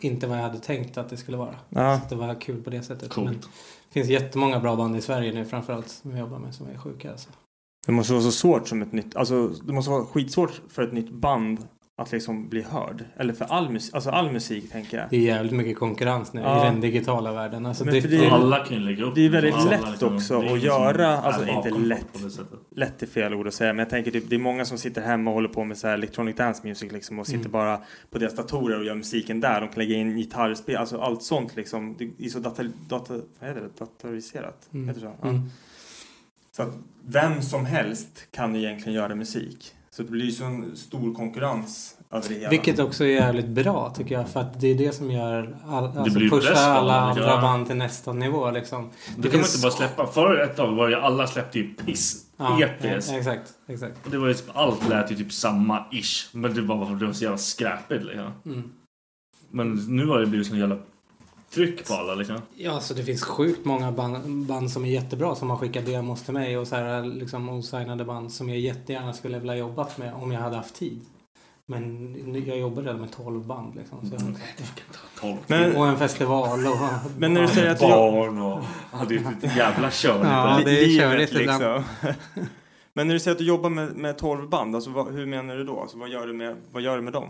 inte vad jag hade tänkt att det skulle vara. Ja. Så det var kul på det sättet. Coolt. Men det finns jättemånga bra band i Sverige nu framförallt som jag jobbar med som är sjuka alltså. Det måste vara så svårt som ett nytt, alltså det måste vara skitsvårt för ett nytt band att liksom bli hörd. Eller för all musik, alltså all musik tänker jag. Det är jävligt mycket konkurrens nu Ja. i den digitala världen. Alltså Men det, för det, det är- Alla kan ju lägga upp Det är väldigt Alla lätt kan- också det är att ingen som göra, är alltså, inte bakom folk lätt. på det sättet. lätt är fel ord att säga, men jag tänker typ, det är många som sitter hemma och håller på med så här electronic dance music liksom och sitter Mm. bara på deras datorer och gör musiken där. De kan lägga in gitarrspel, alltså allt sånt liksom. Det är så data, data, vad heter det? datoriserat. Mm. Heter det så? Ja. mm. så att vem som helst kan egentligen göra musik. Så det blir ju så en stor konkurrens över det hela. Vilket också är jävligt bra tycker jag för att det är det som gör all, alltså blir pushar bäst, alla va? andra Ja. band till nästa nivå liksom. Det kan man finns- inte bara släppa. Förr ett tag var ju alla släppte ju piss. E Ja, EPs. ja, exakt, exakt. Och Det var ju typ, allt lät ju typ samma ish. Men det var, det var så jävla skräpigt liksom. Mm. Men nu har det blivit sån jävla tryck på alla liksom. Ja, så det finns sjukt många band, band som är jättebra som har skickat demos till mig och så här liksom osignade band som jag jättegärna skulle vilja jobbat med om jag hade haft tid. Men nu- jag jobbar redan med 12 band liksom. Så jag, har inte- Tolv Men- och en festival och... Eh, Men när du säger att du jobb- barn och... Ja, det är ju ett jävla liksom. körigt. Ja, det är Livet, liksom. körigt ibland. men när du säger att du jobbar med, med 12 band, alltså vad, hur menar du då? Alltså, vad, gör du med, vad gör du med dem?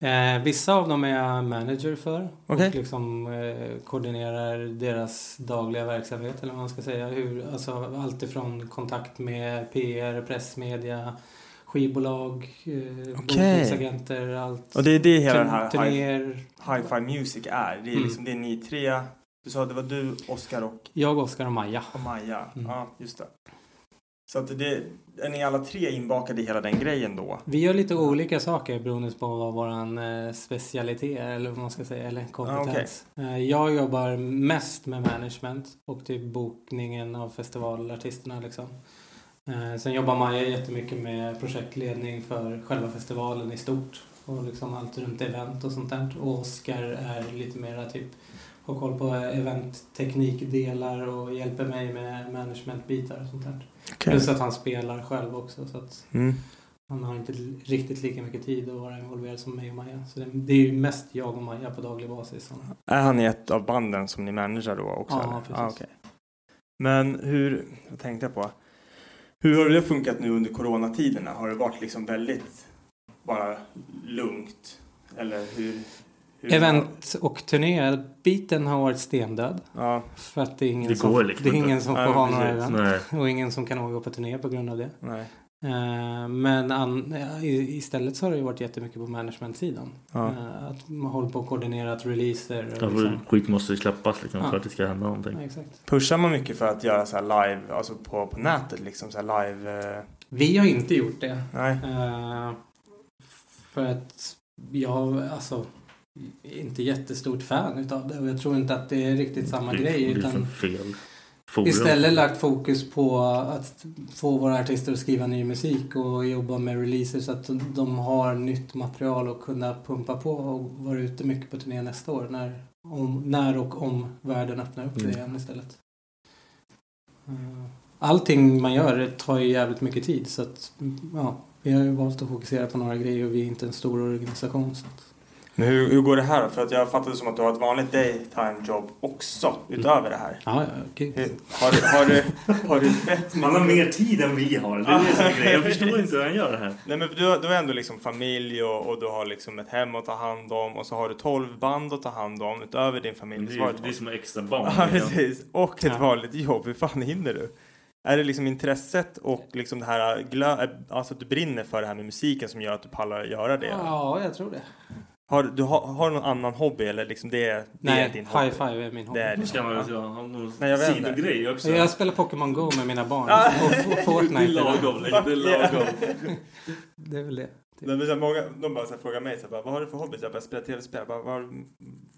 Eh, vissa av dem är jag manager för Okej. och liksom eh, koordinerar deras dagliga verksamhet eller vad man ska säga. Hur, alltså allt ifrån kontakt med PR, pressmedia, skivbolag, eh, bokningsagenter, allt. Och det är det hela Turn- den här turnéer. hi- hi-fi music är. Det är Mm. liksom det är ni tre. Du sa att det var du, Oskar och... Jag, Oskar och Maja. Och Maja, Mm. ja just det. Så att det, är ni alla tre inbakade i hela den grejen då? Vi gör lite olika saker beroende på vad våran eh, specialitet är, eller vad man ska säga, eller kompetens. Eh, Jag jobbar mest med management och typ bokningen av festivalartisterna liksom. Eh, Sen jobbar Maja jättemycket med projektledning för själva festivalen i stort och liksom allt runt event och sånt där. Och Oskar är lite mera typ har koll på eventteknikdelar och hjälper mig med managementbitar och sånt där. Okej. Plus att han spelar själv också så att Mm. han har inte l- riktigt lika mycket tid att vara involverad som mig och Maja. Så det, det är ju mest jag och Maja på daglig basis. Som, Är han i ett av banden som ni managerar då också? Ja, eller? precis. Ah, okej. Men hur, vad tänkte jag på? Hur har det funkat nu under coronatiderna? Har det varit liksom väldigt bara lugnt? Eller hur? hur Event och turnébiten har varit stendöd. För att det är ingen Det går som, liksom det är ingen inte. som får Nej, ha precis. några event. Nej. Och ingen som kan åka på turné på grund av det. Nej. Eh, Men an, i- istället så har det ju varit jättemycket på management-sidan. Ja. Eh, Att man håller på att koordinera att releaser. och Ja, liksom- för Skit måste ju släppas liksom, Ja. för att det ska hända någonting. Ja, exakt. Pushar man mycket för att göra så här live, alltså på, på nätet liksom så här live? eh, Vi har inte gjort det. Nej. Eh, för att jag, alltså, är inte jättestort fan utav det. Och jag tror inte att det är riktigt samma det, grej. det är Utan liksom fel forum. istället lagt fokus på att få våra artister att skriva ny musik och jobba med releaser så att de har nytt material och kunna pumpa på och vara ute mycket på turné nästa år. När, om, när och om världen öppnar upp det Mm. igen istället. Eh, Allting man gör tar ju jävligt mycket tid så att ja, vi har ju valt att fokusera på några grejer och vi är inte en stor organisation. Så att, Men hur, hur går det här då? För att jag fattade som att du har ett vanligt daytime job också utöver det här. ja, ja, okej. Har, du- har, du, har du fett Man har mer tid än vi har. Det är det som är grejen. Jag förstår inte hur han gör det här. Nej men du, har- du har ändå liksom familj och, och du har liksom ett hem att ta hand om och så har du 12 band att ta hand om utöver din familj. Det är Så har ju- du det är 12. som extra barn. liksom. Ja precis. Och ett Ja. vanligt jobb. Hur fan hinner du? Är det liksom intresset och liksom det här glö, alltså att du brinner för det här med musiken som gör att du pallar att göra det? ja, jag tror det. Har du har, har du någon annan hobby eller liksom det, det är Nej, din high five är min hobby. Det är din Ska man hobby. ju ha någon Nej, jag vet inte. sidogrej också. Jag spelar Pokémon Go med mina barn Ah. och F- Fortnite. Det är lagom. liksom. Det är lagom. Det är väl det. Nej, men så här, många, de bara så här, frågar mig så här, bara, vad har du för hobby? Så Jag bara spelar tv-spel. Jag Bara, vad, har-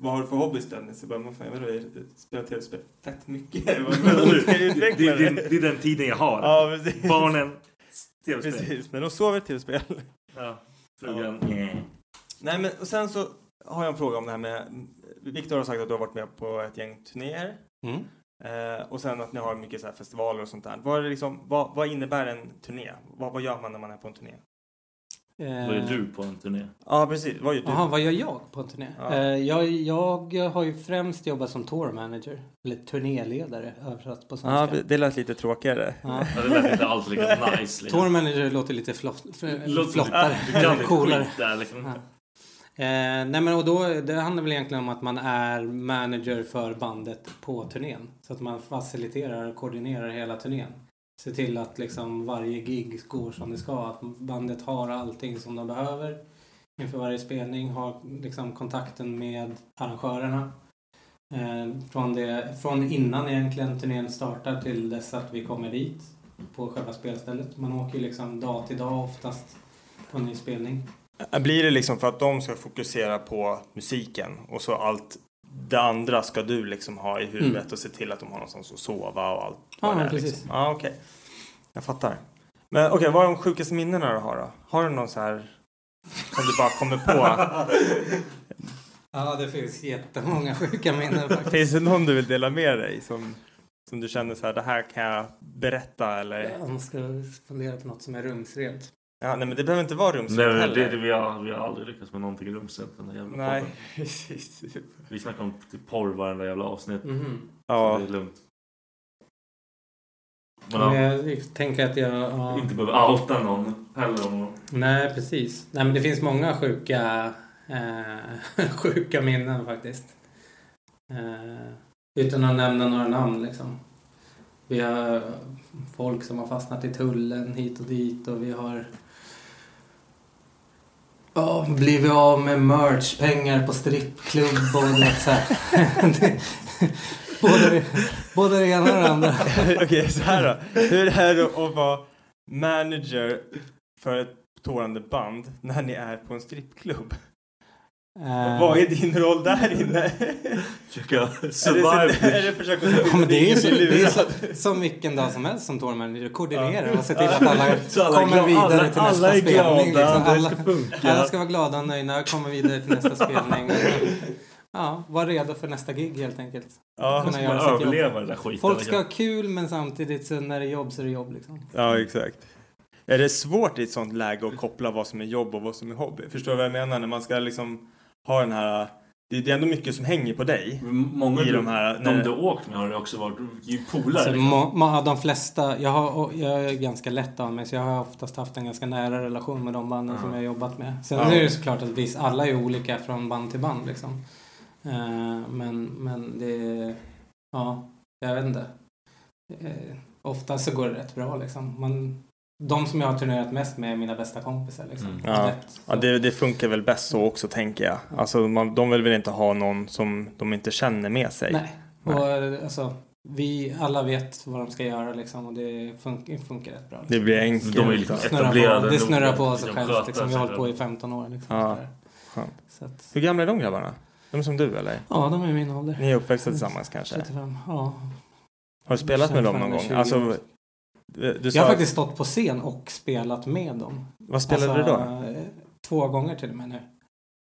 vad har du för hobby Dennis? Jag bara, vad fan, jag vet inte, jag spelar tv-spel fett mycket. Jag bara, "Vad ska jag det, utveckla det, det, det?" det är den tiden jag har. Ja, precis. Barnen, tv-spel. Precis, när de sover tv-spel. Ja, Mm. frugan. Yeah. Nej, men och sen så har jag en fråga om det här med, Viktor har sagt att du har varit med på ett gäng turnéer. Mm. Eh, och sen att ni har mycket så här festivaler och sånt där. Vad, är det liksom, vad, vad innebär en turné? Vad, vad gör man när man är på en turné? Vad är Eh, du på en turné? Ja, precis. Vad gör du? Jaha, vad gör jag på en turné? Ja. Eh, Jag, jag har ju främst jobbat som tour manager. Eller turnéledare översatt på Ja, svenska. det lät lite tråkigare. Ja. Ja, det lät inte alls lika nice. Liksom. Tour manager låter lite flott, f- Låter som- flottare. Du kan lite coolare. skit där liksom. Ja. Eh, nej men och då, det handlar väl egentligen om att man är manager för bandet på turnén. Så att man faciliterar och koordinerar hela turnén. Se till att liksom varje gig går som det ska. Att bandet har allting som de behöver inför varje spelning. Har liksom kontakten med arrangörerna. Eh, från, det, från innan egentligen turnén startar till dess att vi kommer dit på själva spelstället. Man åker ju liksom dag till dag oftast på en ny spelning. Blir det liksom för att de ska fokusera på musiken och så allt det andra ska du liksom ha i huvudet och se till att de har någonstans att sova och allt Mm. Ja, vad det men är, precis. Liksom. Ja, okej. Jag fattar. Men okej, vad är de sjukaste minnena du har då? Har du någon så här som du bara kommer på? Ja, det finns jättemånga sjuka minnen faktiskt. Finns det någon du vill dela med dig som, som du känner så här, det här kan jag berätta eller? Jag ska fundera på något som är rumsrent. Ja, nej, men det behöver inte vara rumsligt Nej, men heller. det, det, vi, har, vi har aldrig lyckats med någonting i rumsrent. Den där jävla Nej, podden. precis. Vi snackar om typ porr varenda jävla avsnitt. Mhm. Så Ja, det är lugnt. Men, Men ja, jag tänker att jag... Ja. Inte behöver outa någon heller. Om någon. Nej, precis. Nej, men det finns många sjuka, eh, sjuka minnen faktiskt. Eh, utan att nämna några namn liksom. Vi har folk som har fastnat i tullen hit och dit och vi har Ja, blir vi av med merch, pengar på strippklubb och du vet, så här. Det- både, det- både det ena och det andra. Okej, så här då. Hur är det att vara manager för ett tårande band när ni är på en strippklubb? Eh, Vad är din roll där inne? Försöka Är det, survive. så- är det försöka se till Ja, men att det är ju ingen så, blir det är lurad? så, som vilken dag som helst som tourmanager. Koordinera Ja. och se till att alla, Så alla är kommer glada- vidare alla- till nästa alla är glada, spelning. liksom. det ska funka. alla ska vara glada och nöjda och kommer vidare till nästa spelning. Ja, var redo för nästa gig helt enkelt. Ja, Kunna ska göra man sitt jobb. överleva den där skiten, Folk liksom. ska ha kul men samtidigt så när det är jobb så är det jobb liksom. Ja, exakt. Är det svårt i ett sånt läge att koppla vad som är jobb och vad som är hobby? Förstår du vad jag menar? När man ska liksom ha den här... Det det är ändå mycket som hänger på dig. Många i du, de här... de du åkt med har ju också varit ju polare. Så liksom. må, må, ja, Alltså, de flesta, jag, har, och jag är ganska lätt av mig så jag har oftast haft en ganska nära relation med de banden som jag har jobbat med. Sen Ja. är det ju såklart att visst, alla är olika från band till band liksom. Eh, men, men det, ja, jag vet inte. Eh, oftast så går det rätt bra liksom. Man, de som jag har turnerat mest med är mina bästa kompisar liksom. Mm. Ja, Rätt. ja det, det funkar väl bäst så också tänker jag. Alltså, man, de vill väl inte ha någon som de inte känner med sig. Nej. Och eh, alltså, vi alla vet vad de ska göra liksom och det funkar, funkar rätt bra. Det blir enkelt. De är ju liksom alltså. snurrar etablerade på, det nog. snurrar på sig De självt. sköter Liksom. Vi sig har hållit på i själv. 15 år. Liksom, Ja. sådär. Skönt. Så att, Hur gamla är de grabbarna? De är som du eller? ja, de är min ålder. Ni är uppväxta tillsammans kanske? 35. Ja. Har du spelat med dem någon 25, gång? 20 Alltså, år. du du sa Jag har att- faktiskt stått på scen och spelat med dem. Vad spelade du då? Alltså, eh, Två gånger till och med nu.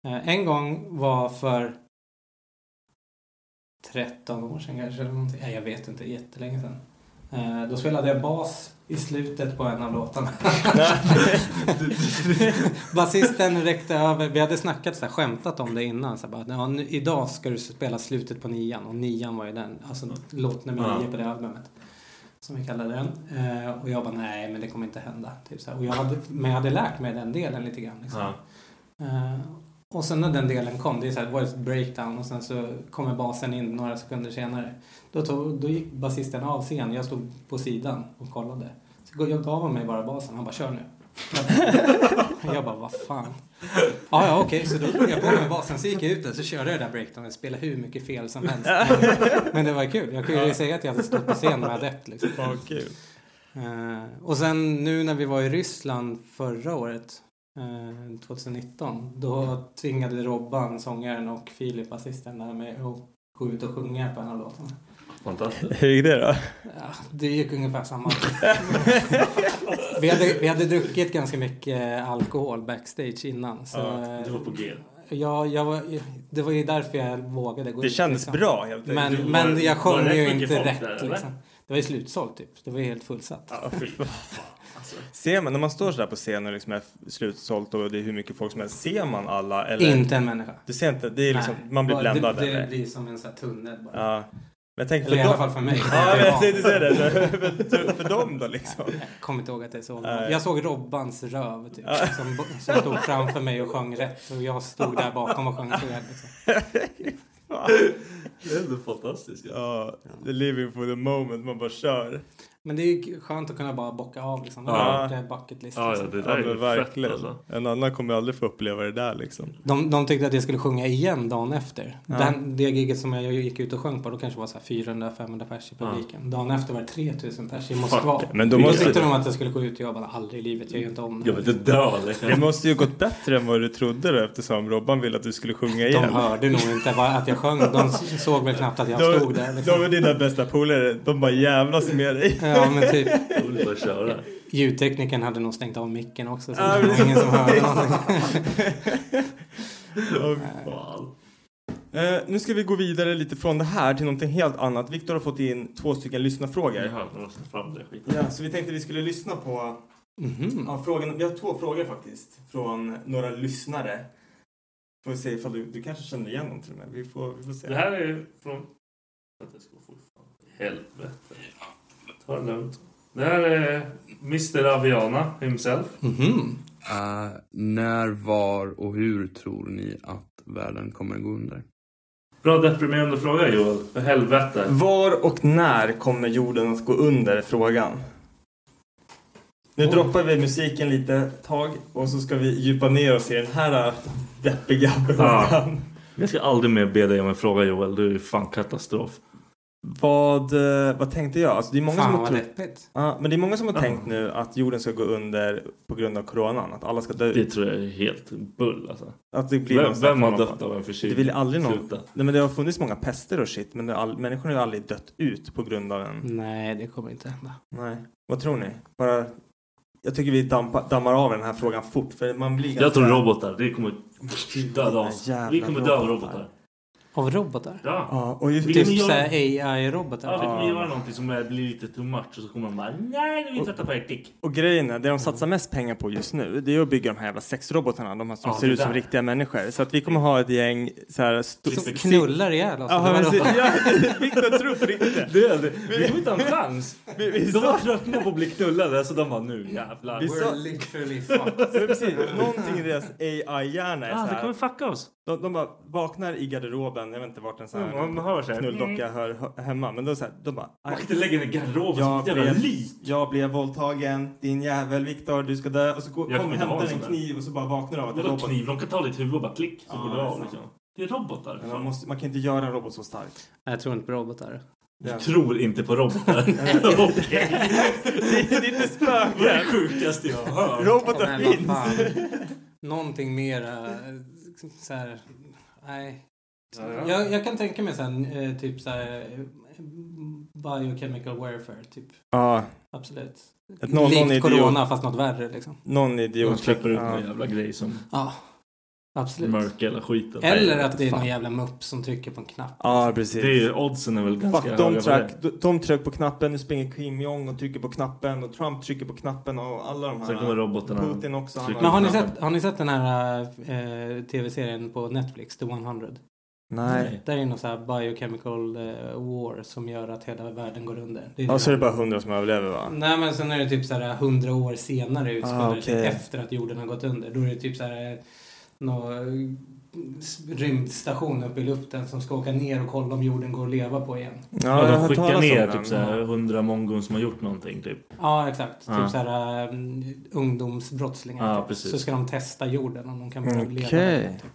Eh, En gång var för 13 år sedan kanske. Eller någonting. Nej, jag vet inte, jättelänge sedan. Eh, Då spelade jag bas i slutet på en av låtarna. Alltså, Basisten räckte över. Vi hade snackat så här, skämtat om det innan. Så här, bara, ja, nu, idag ska du spela slutet på nian. Och nian var ju den, alltså låt nummer Ja. nio på det albumet som vi kallade den. Eh, och jag bara, nej men det kommer inte hända. Typ så här. Och jag hade, men jag hade lärt mig den delen lite grann. Liksom. Ja. Eh, och sen när den delen kom, det, är så här, det var ett breakdown och sen så kommer basen in några sekunder senare. Då, tog, då gick basisten av scen, jag stod på sidan och kollade. Så jag gav han mig bara basen, han bara kör nu. jag bara, vad fan. Ja, ja, okej, så då drog jag på mig basen, så gick jag ut där, så körde jag det där breakdownen, spelade hur mycket fel som helst. Men, men det var kul, jag kunde ju säga att jag hade stått på scen med adept liksom. Fan, vad kul. Eh, och sen nu när vi var i Ryssland förra året, eh, 2019, då tvingade Robban, sångaren och Filip, assisten, där med att gå ut och sjunga på en av låtarna. Fantastiskt. Hur gick det då? Ja, det gick ungefär samma. vi, hade, vi hade druckit ganska mycket alkohol backstage innan. Så Ja, du var på G. jag, jag var, det var ju därför jag vågade gå Det ut. kändes liksom. bra helt enkelt. Men, Det var- men det jag sjöng var rätt ju mycket inte folk rätt. där, eller? liksom. Det var ju slutsålt typ. Det var ju helt fullsatt. Ja, fy fan. Alltså. Ser man, när man står sådär på scen och liksom är slutsålt och det är hur mycket folk som helst, ser man alla? Eller? Inte en människa. Du ser inte? Det är liksom, Nej, man blir bara- bländad Det, det eller? blir som en sån här tunnel bara. Ja. Men tänk Eller i för alla dem- fall för mig. Ja, men jag tänkte säga det. För, för dem då liksom. Jag kommer inte ihåg att det är så. Nej. Jag såg Robbans röv typ. Som, som stod framför mig och sjöng rätt. Och jag stod där bakom och sjöng fel. Liksom. Det är ändå fantastiskt. Ja. Ja, the living for the moment, man bara kör. Men det är ju skönt att kunna bara bocka av liksom. Det Ja. är bucket list. Ja, ja, liksom. det där Ja, är ju men verkligen. verkligen. fett alltså. En annan kommer aldrig få uppleva det där liksom. de, de tyckte att jag skulle sjunga igen dagen efter. Den, det giget som jag gick ut och sjöng på, då kanske var så här 400-500 pers i publiken. Dagen efter var det 3000 pers i Moskva. Men då då måste- tyckte de att jag skulle gå ut och jag bara aldrig i livet, jag gör inte om det. Jag vill inte dö liksom. Det måste ju gått bättre än vad du trodde då eftersom Robban ville att du skulle sjunga De igen. hörde nog inte vad- att jag sjöng. De såg väl knappt att jag stod där. de är Liksom. dina bästa polare, de bara jävlas med dig. Ja, men typ. Jag vill bara köra. Ljudteknikern hade nog stängt av micken också. Så Ja, det var precis. ingen som hörde någonting. Ja, Fan. Eh, nu ska vi gå vidare lite från det här till någonting helt annat. Viktor har fått in två stycken lyssnarfrågor. Jag har röstat fram den skiten. Ja, så vi tänkte vi skulle lyssna på Mhm. ja, frågan. Vi har två frågor faktiskt från några lyssnare. Får vi se ifall du, du kanske känner igen dem till och med. Vi får, vi får se. Det här är ju från... Vänta, jag ska få fan. Helvete. Ta det lugnt. Det här är Mr Aviana himself. Mhm. Eh, när, var och hur tror ni att världen kommer gå under? Bra deprimerande fråga Joel. För helvete. Var och när kommer jorden att gå under? är Frågan. Nu droppar vi musiken lite ett tag och så ska vi djupa ner oss i den här äh, deppiga Ja. frågan. Jag ska aldrig mer be dig om en fråga Joel, du är fan katastrof. Vad, eh, vad tänkte jag? Alltså, det är många Fan, som har vad trott- deppigt. Ja, men det är många som har Ja. tänkt nu att jorden ska gå under på grund av coronan. Att alla ska dö Det ut. tror jag är helt bull alltså. Att det blir vem, någon slags- vem har dött Typ. av en förkylning? Det vill aldrig någon... Sluta. Nej, men det har funnits många pester och shit, men det har all... människor har ju aldrig dött ut på grund av en... Nej, det kommer inte hända. Nej. Vad tror ni? Bara... Jag tycker vi dampa, dammar av den här frågan fort, för man blir Jag tror robotar, det kommer döda oss. Jävla Vi kommer dö av robotar. robotar. Av robotar? Ja. Ja, och just... Vi Typ kommer göra- såhär AI-robotar? Ja, vi kommer göra någonting som är- blir lite too much och så kommer de bara nej, vi vill tvätta på er dick. Och grejen är, det de satsar mest pengar på just nu, det är att bygga de här jävla sexrobotarna, de här som Ja, ser det ut som där. riktiga människor. Så att vi kommer ha ett gäng så här... St- Som knullar ihjäl oss. typ Ja, Det var men, robotar. ja, Viktor Trupp riktigt. Det, det, vi kommer inte ha en chans. Vi, vi, De sa- var tröttna på att bli knullade så de bara nu jävlar. Vi sa- We're literally fucked. Men precis, någonting i deras AI-hjärna är Ah, så det här. kommer fucka oss. De, de bara vaknar i garderoben, jag vet inte vart en sån här Mm, man hör så här. knulldocka hör, hör hemma. Men då så här, de bara... Man kan inte lägga ner garderoben som jag ett jävla blev, lik. jag blev våldtagen, din jävel Viktor, du ska dö. Och så går, Jag kommer kommer inte ha hämtar en en sån kniv och så bara vaknar de av att Vadå roboten- kniv? De kan ta ditt huvud och bara klick så Ja, går det det är av sant. liksom. Det är robotar. liksom. Men fan. Man, måste, man kan inte göra en robot så stark. Nej, Jag tror inte på robotar. Det, är- Tror inte på robotar. Okej. det är inte Det är det spöken! sjukaste jag har hört. Robotar Men vad finns! fan. Någonting mera eh, så här, nej. Jag, jag kan tänka mig sen eh, typ så här eh, biochemical warfare typ. Ja, Absolut. Ett någon- någon Likt idiot. corona fast något värre liksom. någon De idiot. släpper ut Ja. någon jävla grej som Ja, absolut. mörkar hela skiten. Eller Nej, att det är fan. någon jävla mupp som trycker på en knapp. Ja, precis. Det är, oddsen är väl ganska Fuck, höga de, på tryck, det. de, de tryck på knappen, nu springer Kim Jong och trycker på knappen och Trump trycker på knappen och alla de här. Sen kommer robotarna. Putin också. Han Trycker Men har ni knappen. sett, har ni sett den här eh, tv-serien på Netflix, The 100? Nej. Där är någon så här biochemical eh, war som gör att hela världen går under. Det är Ja, så är det bara hundra som överlever va? Nej men sen är det typ så här hundra år senare utspelar Ah, det sig okej. efter att jorden har gått under. Då är det typ så här någon eh, rymdstation uppe i luften som ska åka ner och kolla om jorden går att leva på igen. Ja, jag har de hört skickar talas om ner den. typ såhär hundra mongon som har gjort någonting typ. Ja exakt. Ah. Typ så här mm, ungdomsbrottslingar. Ja, typ. precis. Så ska de testa jorden om de kan börja Mm. leva. Okej. där, typ.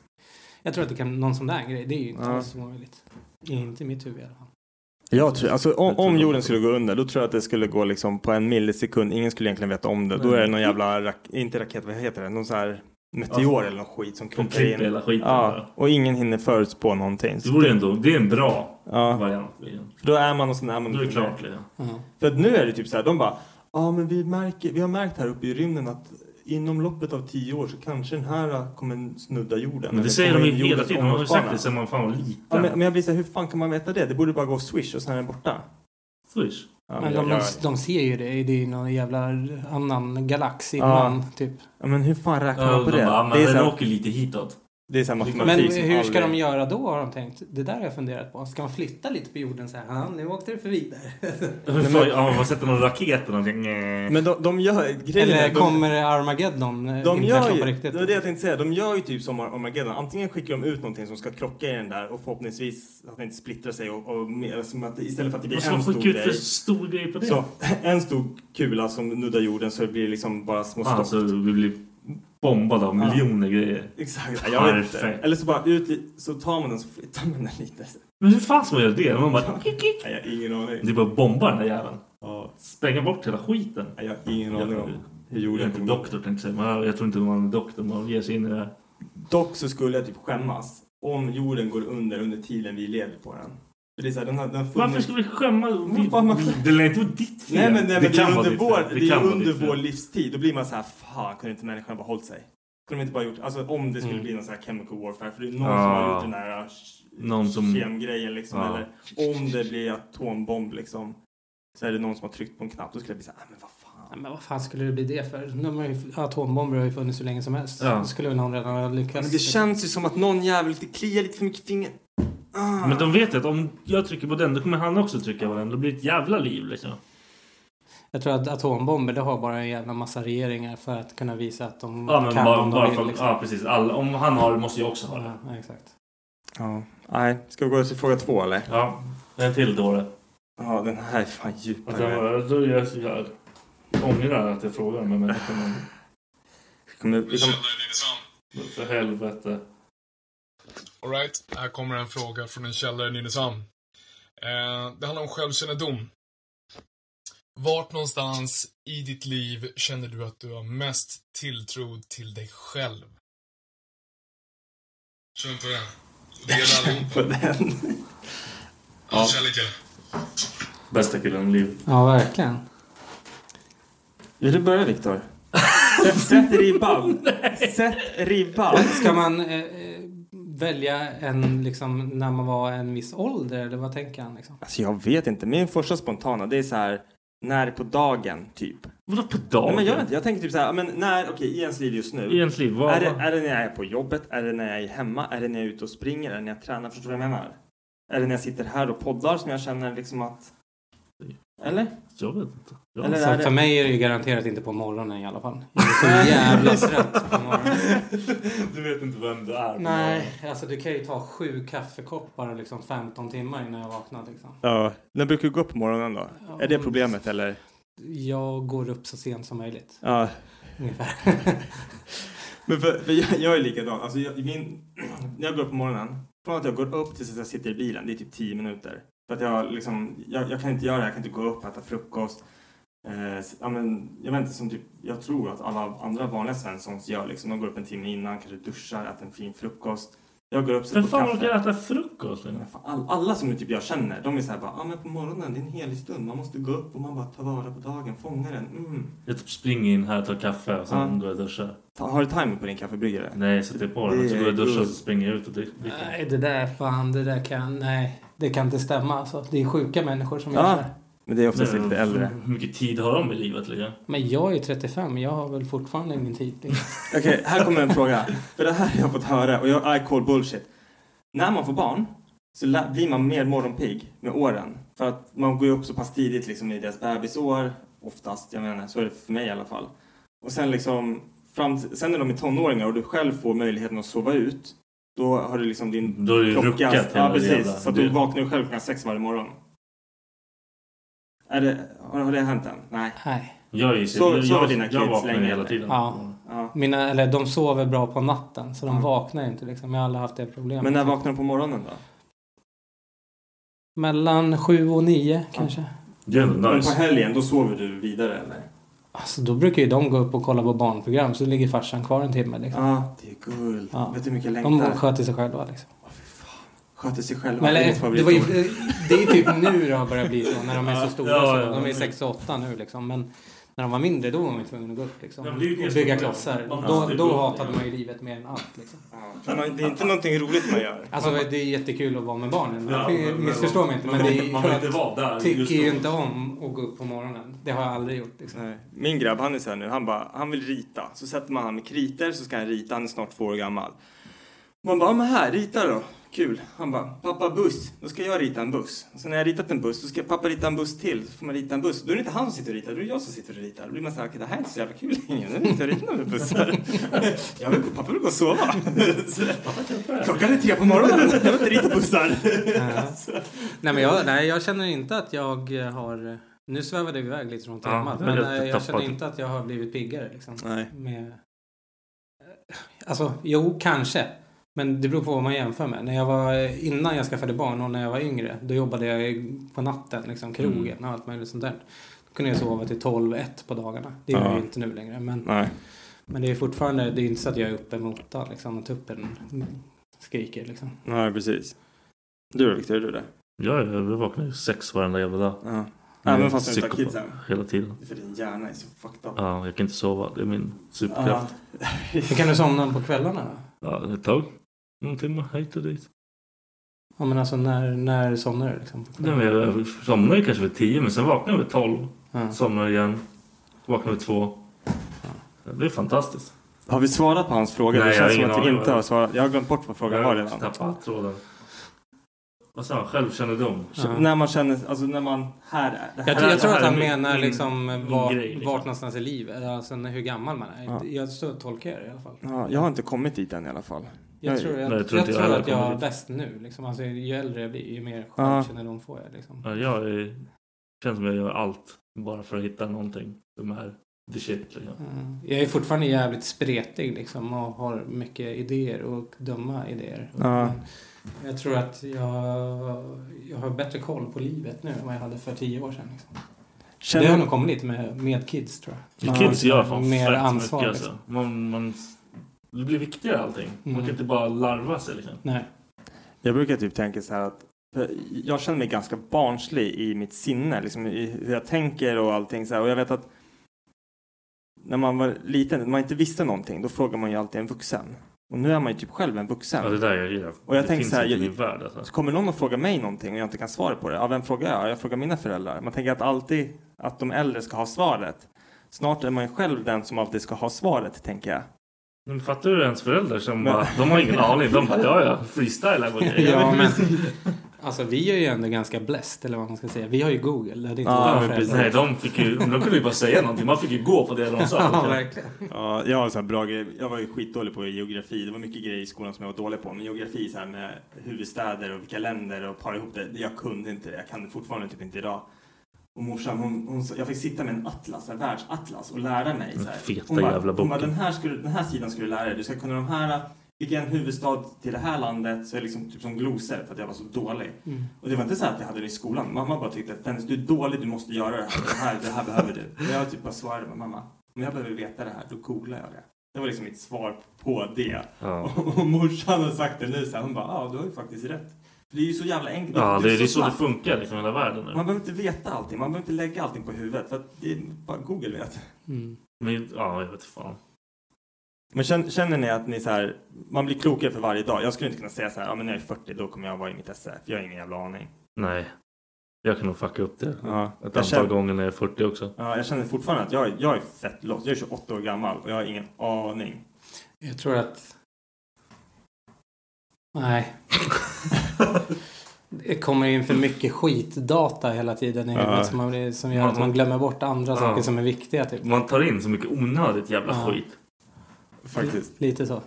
Jag tror att det kan, någon sån där grej, det är ju inte Ja. alls omöjligt. Inte i mitt huvud i alla fall. Jag tror, alltså, om, Mm. Jag tror om de- jorden skulle gå under, då tror jag att det skulle gå liksom på en millisekund. Ingen skulle egentligen veta om det. Då Nej. är det någon jävla, rak, inte raket, vad heter det? Någon sån här meteor eller någon skit som De krockar klipper in. hela skiten Ja, bara. och ingen hinner förutspå någonting. Det Så, vore ju ändå, det är en bra ja, variant. liksom. då är man och sen är man Då är det klart liksom. Ja. För att nu är det typ så här, de bara, ja men vi, märker, vi har märkt här uppe i rymden att inom loppet av tio år så kanske den här äh, kommer snudda jorden. Men Eller det säger de kommer ju in hela jordens tiden. De har ju sagt omloppsbana. det sen man fan var Ja, men, men liten. jag blir så här, hur fan kan man veta det? Det borde bara gå swish och sen är den borta. Swish. Ja, Men jag- de, jag- de ser ju det. Det är ju någon jävla annan galax Ja. innan, typ. ja, men hur fan räknar Ja, man på de det? bara, men det, är så den här, åker lite hitåt. det är så här Men Men matematik som hur ska de aldrig- göra då har de tänkt. Det där har jag funderat på. Ska man flytta lite på jorden så här? "Ja, Nu åkte det förbi där. Fan, Ja, man sätter någon raket eller någonting. Nej. Men de, de gör... grejen är- Eller de- kommer Armageddon eh, De inträffa gör ju, på riktigt? det var det jag tänkte säga, de gör ju typ som Ar- Armageddon. Antingen skickar de ut någonting som ska krocka i den där och förhoppningsvis att den inte splittrar sig och, och mer, alltså, som att det- istället för att det Vad blir ska man en stor skicka ut för grej. stor grej på det? Så, en stor kula som nuddar jorden så det blir liksom bara små stopp. Alltså, vi blir bombade av Ja. miljoner grejer. Exakt, ja, jag vet inte. Perfekt. Eller så bara ut, li- så tar man den så flyttar man den lite. Men hur fan ska man göra det? Man bara... Nej, jag har ingen aning. Det är bara att bomba den där jäveln. Ja, Spränga bort hela skiten. nej, jag har ingen aning om hur Jag är jorden inte kommer gå. doktor tänkte jag säga, men jag tror inte man är doktor om man ger sig in i det här. Dock så skulle jag typ skämmas om jorden går under under tiden vi lever på den. För det är så här, den har, den har Varför funnits- ska vi skämma? Vad fan, man- Det lär inte vara ditt fel. Nej men, nej, men det, kan är vara under, ditt vår, fel. det är kan vara under ditt fel. vår livstid. Då blir man så här, fan kunde inte människan bara hållit sig? Kunde de inte bara gjort, alltså om det skulle Mm. bli någon så här chemical warfare, för det är någon som Ah. har gjort den där uh, Någon som- kemgrejen liksom. Ja. Eller om det blir atombomb liksom. Så är det någon som har tryckt på en knapp, då skulle jag bli så här, "Ah, men vad Ja, fan. Men vad fan skulle det bli det för? De har ju, atombomber har ju funnits hur länge som helst. Ja. Då skulle väl någon redan ha lyckats. Men det känns ju som att någon jävel det kliar lite för mycket i fingret. Ah. Men de vet ju att om jag trycker på den då kommer han också trycka på den. Då blir det ett jävla liv liksom. Mm. Jag tror att atombomber, det har bara en jävla massa regeringar för att kunna visa att de Ja men kan bara, om de bara vill. för, liksom. ja, precis. Alla, om han har det måste jag också ha det. ja, exakt. Ja, nej. Ska vi gå till fråga två eller? Ja, en till dåre. Ja, den här är fan Att djupare. han bara, Då gör jag så här. ångrar att jag frågar de här människorna. Kommer, vi kommer... För helvete. Alright, här kommer en fråga från en källare i Nynäshamn. Eh, det handlar om självkännedom. Vart någonstans i ditt liv känner du att du har mest tilltro till dig själv? Känner på den? Det gäller allihopa. På den. Ja. Kärlek gäller. Bästa killen i livet. Ja, verkligen. Vill du börja, Viktor? Sätt, sätt ribban. Sätt ribban. Ska man eh, eh, välja en, liksom, när man var en viss ålder? Eller vad tänker han? Liksom? Alltså jag vet inte. Min första spontana det är så här när på dagen typ. Vadå på dagen? Nej, men jag vet inte. Jag tänker typ så här, ja, men när, okej i ens liv just nu. I ens liv, vad- Är det, är det när jag är på jobbet? Är det när jag är hemma? Är det när jag är ute och springer? Är det när jag tränar? Förstår du vad jag menar? Är det när jag sitter här och poddar som jag känner liksom att... Eller? Jag vet inte. Ja. Eller Så är det- För mig är det ju garanterat inte på morgonen i alla fall. Jag är så jävla trött på morgonen. Du vet inte vem du är. Nej, alltså du kan ju ta sju kaffekoppar och liksom 15 timmar innan jag vaknar. Liksom. Ja. När brukar du gå upp på morgonen då? Ja, är det men- problemet eller? Jag går upp så sent som möjligt. Ja. Ungefär. Men för, för jag, jag är likadan. Alltså jag, min, när jag går upp på morgonen, från att jag går upp tills att jag sitter i bilen, det är typ 10 minuter. För att jag, liksom, jag, jag kan inte göra det, jag kan inte gå upp, äta frukost. Eh, s- ja, men, jag vet inte, som typ, jag tror att alla andra vanliga svenssons gör. Liksom, de går upp en timme innan, kanske duschar, äter en fin frukost. Jag går upp, sätter Vem på fan kaffe. orkar äta frukost? Men fan, all, alla som typ jag känner, de är så här bara, ah, men på morgonen, det är en helig stund. Man måste gå upp och man bara tar vara på dagen, fånga den. Mm. Jag typ springer in här, tar kaffe och sen Ja. går jag och duschar. Ta, har du timer på din kaffebryggare? Nej, jag sätter på Det den och så går jag och duschar och guld. så springer jag ut och drick- dricker. Nej, det där fan, det där kan... Nej, det kan inte stämma. Alltså. Det är sjuka människor som gör Ja, så här. men det är oftast Nej, lite men äldre. Eh, Hur mycket tid har de i livet? Liksom? Men jag är ju 35, jag har väl fortfarande ingen tid. liksom. Okej, här kommer en fråga. För det här har jag fått höra och jag I call bullshit. När man får barn så lä- blir man mer morgonpigg med åren. För att man går ju upp så pass tidigt liksom i deras bebisår. Oftast, jag menar, så är det för mig i alla fall. Och sen liksom, fram t- sen när de är tonåringar och du själv får möjligheten att sova ut. Då har du liksom din Då är det ju klocka- ruckat Ja, hela jävla- precis. Så att det- du vaknar ju själv klockan sex varje morgon. Är det, har, har det hänt än? Nej. Nej. Jag är ju Så- jag, sover jag, dina jag kids vaknar länge, hela eller? tiden. Ja. Ja. Mina, eller de sover bra på natten, så de Ja. vaknar inte. Liksom. Jag har aldrig haft det problemet. Mm. Men när vaknar de på morgonen då? Mellan sju och nio kanske. Det är ändå Men på nice. helgen, då sover du vidare eller? Alltså, då brukar ju de gå upp och kolla på barnprogram, så ligger farsan kvar en timme. Liksom. Ja, det är guld. Ja. Vet du hur mycket jag De längtar? sköter sig själva. Liksom. Sköter sig själva. Men, Det är eller, mitt det, var ju, favoritord. det är typ nu det har börjat bli så, när de är så stora. Ja, så. ja, de är ja. 6 och 8 nu liksom. Men när de var mindre då var man ju tvungen att gå upp liksom. Ja, och men det är ju det som bygga är- klossar. man Då, måste ju gå då upp, hatade ja. man ju livet mer än allt. Liksom. Men man- Det är inte någonting roligt man gör. Alltså det är jättekul att vara med barnen. Ja, men- men- Missförstå mig inte. man Men vill- det är, man vill jag inte vara där just tycker ju då. inte om att gå upp på morgonen. Det har jag aldrig gjort. Liksom. Nej. Min grabb, han är så här nu. Han, bara, han vill rita. Så sätter man han med kriter så ska han rita. Han är snart två år gammal. Man bara, ja, men här, rita då. Kul. Han bara, pappa buss. Då ska jag rita en buss. Och sen när jag ritat en buss, så ska pappa rita en buss till. Så får man rita en buss. Då är det inte han som sitter och ritar, då är det jag som sitter och ritar. Då blir man så här, okej, det här är inte så jävla kul längre. Nu vill inte jag rita några bussar. Jag vill, pappa vill gå och sova. Klockan är tre på morgonen. Jag vill inte rita bussar. Nej, men jag, nej, jag känner inte att jag har... Nu svävade vi iväg lite från Ja, temat. det men är eh, jag, lite känner tappat. inte att jag har blivit piggare. Liksom, Nej. Med, eh, alltså, jo, kanske. Men det beror på vad man jämför med. När jag var, eh, innan jag skaffade barn och när jag var yngre, då jobbade jag i- på natten, liksom, krogen och allt möjligt sånt där. Då kunde jag sova till 12-1 på dagarna. Det gör jag Ja. ju inte nu längre. Men, Nej. men det är fortfarande, det är inte så att jag är uppe mot den, liksom, och tuppen skriker. Liksom. Nej, precis. Du då, Viktor? Är du det? Jag, är- jag vaknar ju sex varenda jävla dag. Ja. Jag är Även fast du inte har Mm. psykopat kidsen? Hela tiden. För din hjärna är så fucked up. Ja, jag kan inte sova. Det är min superkraft. Hur kan du somna på kvällarna då? Ja, ett tag. En timme hit och dit. Ja men alltså när, när somnar du liksom? Nej, men jag somnar ju kanske vid tio, men sen vaknar jag vid tolv. Ja. Somnar igen. Vaknar vid två. Det blir fantastiskt. Har vi svarat på hans fråga? Nej, det jag har känns som ingen att vi aning inte vad- har svarat. Jag har glömt bort vad frågan var redan. Tappat tråden. Vad sa han? Självkännedom? Så När man känner, alltså när man, här är det Jag, här. tror- jag tror här att är han min- menar min- liksom min var, grej, liksom. vart någonstans i livet, alltså hur gammal man är. Ja. Jag så tolkar jag det i alla fall. Ja, jag har inte kommit dit än i alla fall. Jag tror, jag, Nej, jag jag tror, tror inte jag heller att jag kommer är dit. bäst nu. Liksom. Alltså, ju äldre jag blir, ju mer Ja. självkännedom får jag. Liksom. Ja, jag är... känns som jag gör allt. Bara för att hitta någonting som är the shit. Liksom. Eh, Jag är fortfarande jävligt spretig liksom och har mycket idéer och dumma idéer. Ja. Men Jag tror att jag, jag har bättre koll på livet nu än vad jag hade för tio år sedan. Liksom. Känner- Det har nog kommit lite med, med kids tror jag. Ja, Kids gör fan Mer fett ansvar. mycket liksom. alltså. man, man, Det blir viktigare allting. Man Mm. kan inte bara larva sig liksom. Nej. Jag brukar typ tänka så här att för jag känner mig ganska barnslig i mitt sinne, liksom i hur jag tänker och allting så här. Och jag vet att när man var liten, när man inte visste någonting, då frågar man ju alltid en vuxen. Och nu är man ju typ själv en vuxen. Ja, det där jag gillar. Och jag Det tänker finns så här, inte i jag, min värld, alltså. så kommer någon att fråga mig någonting och jag inte kan svara på det. Ja, vem frågar jag? Jag frågar mina föräldrar. Man tänker att alltid att de äldre ska ha svaret. Snart är man ju själv den som alltid ska ha svaret, tänker jag. Men fattar du ens föräldrar som Men- bara, de har ingen aning. De bara, ja ja, freestylar på grejer. Ja, men, alltså vi är ju ändå ganska blessed eller vad man ska säga. Vi har ju Google. Det hade inte våra Ja, men föräldrar. precis. Nej, de, fick ju, de kunde ju bara säga någonting. Man fick ju gå på det de sa. liksom. Ja, verkligen. Ja, jag har en sån här bra grej. Jag var ju skitdålig på geografi. Det var mycket grejer i skolan som jag var dålig på. Men geografi så här med huvudstäder och vilka länder och para ihop det. Jag kunde inte det. Jag kan det fortfarande typ inte idag. Och morsan, hon, hon, sa- jag fick sitta med en atlas, en världsatlas och lära mig. Så här. Den feta hon bara, jävla hon bara, boken. den här, skulle, den här sidan skulle du lära dig. Du ska kunna de här. Vilken huvudstad till det här landet? Så jag liksom typ som glosor för att jag var så dålig. Mm. Och det var inte så här att jag hade det i skolan. Mamma bara tyckte att Dennis, du är dålig, du måste göra det här. Det här, det här behöver du. Och jag typ bara svarade med mamma, om jag behöver veta det här, då googlar jag det. Det var liksom mitt svar på det. Ja. Och, och morsan har sagt det nu så här, hon bara, ja du har ju faktiskt rätt. För det är ju så jävla enkelt. Ja, det är ju så det snabbt. funkar liksom i hela världen nu. Man behöver inte veta allting, man behöver inte lägga allting på huvudet. För att det är bara Google vet. Mm. Men, ja, jag vet fan. Men känner, känner ni att ni så här, man blir klokare för varje dag? Jag skulle inte kunna säga så här, ja men när jag är 40 då kommer jag vara i mitt esse. För jag har ingen jävla aning. Nej. Jag kan nog fucka upp det Ja, ett jag antal känner- gånger när jag är 40 också. Ja, jag känner fortfarande att jag, är- jag är fett lost. Jag är 28 år gammal och jag har ingen aning. Jag tror att... Nej. Det kommer in för mycket skitdata hela tiden i Ja. huvudet som, man, blir- som gör att man glömmer bort andra Ja. saker som är viktiga. Typ. Man tar in så mycket onödigt jävla Ja. skit. Faktiskt. Lite så.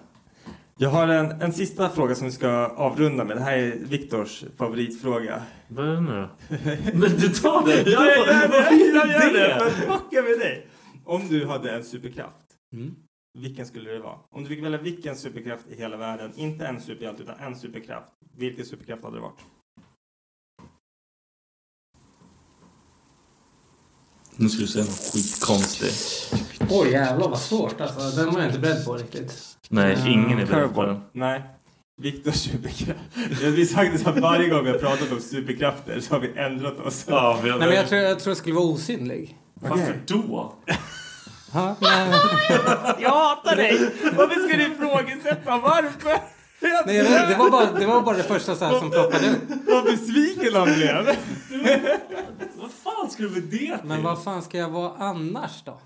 Jag har en, en sista fråga som vi ska avrunda med. Det här är Viktors favoritfråga. Vad är det nu då? Men du tar det! Ja, jag gör Varför det! Jag gör det? det! För att fucka med dig! Om du hade en superkraft, Mm. vilken skulle det vara? Om du fick välja vilken superkraft i hela världen, inte en superhjälte utan en superkraft, vilken superkraft hade det varit? Nu ska du säga något skitkonstigt. Oj jävlar vad svårt alltså. Den var jag inte beredd på riktigt. Nej, ingen är beredd på curveball. den. Nej. Viktors superkraft. Vi har sagt det att varje gång vi har pratat om superkrafter så har vi ändrat oss. Ja, vi har- Nej men jag tror jag, tror jag skulle vara osynlig. Varför då? Ha? Nej. Jag hatar dig! Varför ska du ifrågasätta varför? Nej, jag vet, det, var bara, det var bara det första så här som ploppade upp. Vad besviken han blev! Vad fan ska du med det Men vad fan ska jag vara annars då?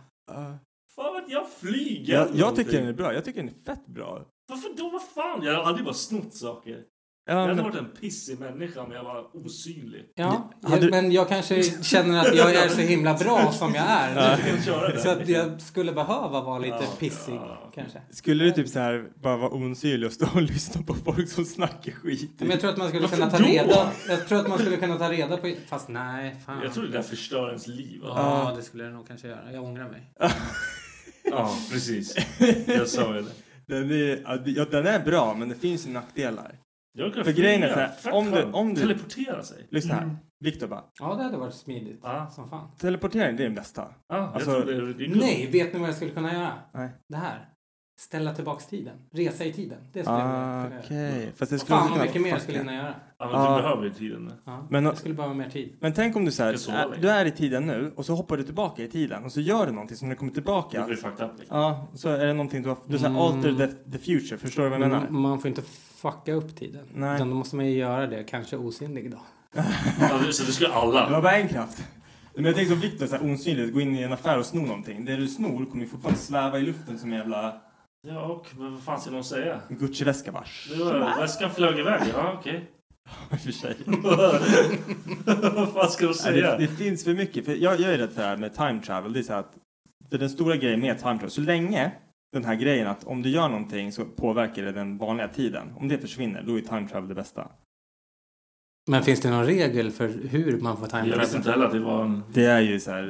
Fan vet jag, flyger! Jag, jag tycker den är bra. Jag tycker den är fett bra. Varför då? Vad fan? Jag hade ju bara snott saker. Ja, jag hade men- varit en pissig människa men jag var osynlig. Ja, Hade du- men jag kanske känner att jag är så himla bra som jag är. Du kan köra det. Så att jag skulle behöva vara lite pissig kanske. Skulle du typ så här bara vara osynlig och stå och lyssna på folk som snackar skit? Men jag tror att man skulle Varför kunna ta då? reda Jag tror att man skulle kunna ta reda på Fast nej, fan. Jag tror det där förstör ens liv. Ja, det skulle det nog kanske göra. Jag ångrar mig. Ja, precis. Jag sa ju det. Den är, ja, det- ja, den är bra, men det finns ju nackdelar. Jag kan För grejen är flyga. så här, Fett om du, skönt. om du... Teleportera sig. Lyssna här. Mm. Viktor bara. Ja, det hade varit smidigt. Som fan. Teleportering, det är den bästa. Ja, jag tror det är- det är kul. Nej, vet ni vad jag skulle kunna göra? Nej. Det här. Ställa tillbaks tiden. Resa i tiden. Det skulle Ah, jag kunna Okej. göra. Fast det skulle Vad fan också kunna vad mycket vara mer jag fucking- skulle hinna göra. Ja, men du behöver ju tiden nu. Ja, Men- jag skulle behöva mer tid. Men tänk om du så Jag här, sover är, länge. du är i tiden nu och så hoppar du tillbaka i tiden och så gör du någonting som när du kommer tillbaka. Det blir fucked up. Liksom. Ja, så är det någonting du har, du säger Mm. alter the, the future, förstår du vad jag menar? Men Man får inte fucka upp tiden. Nej. Utan då måste man ju göra det, kanske osynlig då. Ja, så det skulle alla. Det var bara en kraft. Men jag tänker som Viktor, så här osynligt, gå in i en affär och sno någonting. Det du snor kommer ju fortfarande sväva i luften som en jävla Ja, och men vad fan ska någon säga? Gucci-väska bara. Det var, väskan flög iväg. Ja, okej. I och för sig. vad fan ska de Nej, säga? Det, det finns för mycket. För jag, jag är rädd för det här med time travel. Det är så här att för den stora grejen med time travel, så länge den här grejen att om du gör någonting så påverkar det den vanliga tiden. Om det försvinner, då är time travel det bästa. Men finns det någon regel för hur man får time Jag visste inte heller att det var en... Det är ju så här...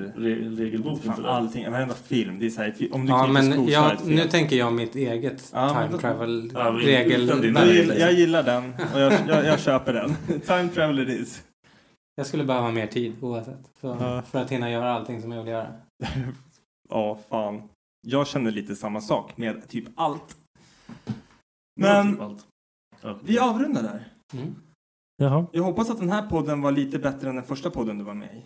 regelbok Fan, för det. allting, varenda film. Det är så här, om du Ja, klipper men skor så är jag, det fel. nu tänker jag mitt eget Ja, men time då- travel Ja, men regel. liksom. utan din- Jag gillar- jag gillar den och jag- jag- jag köper den. Time travel it is. Jag skulle behöva mer tid oavsett. För, Ja. för att hinna göra allting som jag vill göra. Ja, fan. Jag känner lite samma sak med typ allt. Ja, Men typ allt. vi avrundar där. Mm. Jaha. Jag hoppas att den här podden var lite bättre än den första podden du var med i.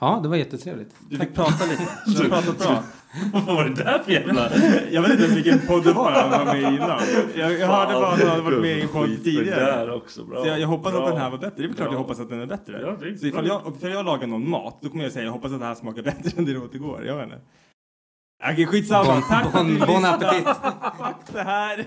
Ja, det var jättetrevligt. Du fick prata lite. Du har pratat bra. Vad var det där för jävla... Jag vet inte ens vilken podd det var han var med i innan. Jag, jag hörde bara att han hade varit med i en podd Skit tidigare. för där också. Bra. Så jag, jag hoppas Bra. att den här var bättre. Det är väl klart Bra. jag hoppas att den är bättre. Ja, det är så ifall bra. jag, och för jag lagar någon mat, då kommer jag säga jag hoppas att det här smakar bättre än det åt igår. Jag vet inte. Okej, skitsamma. Bon- Tack för att bon- ni bon lyssnade. appetit. Fuck det här.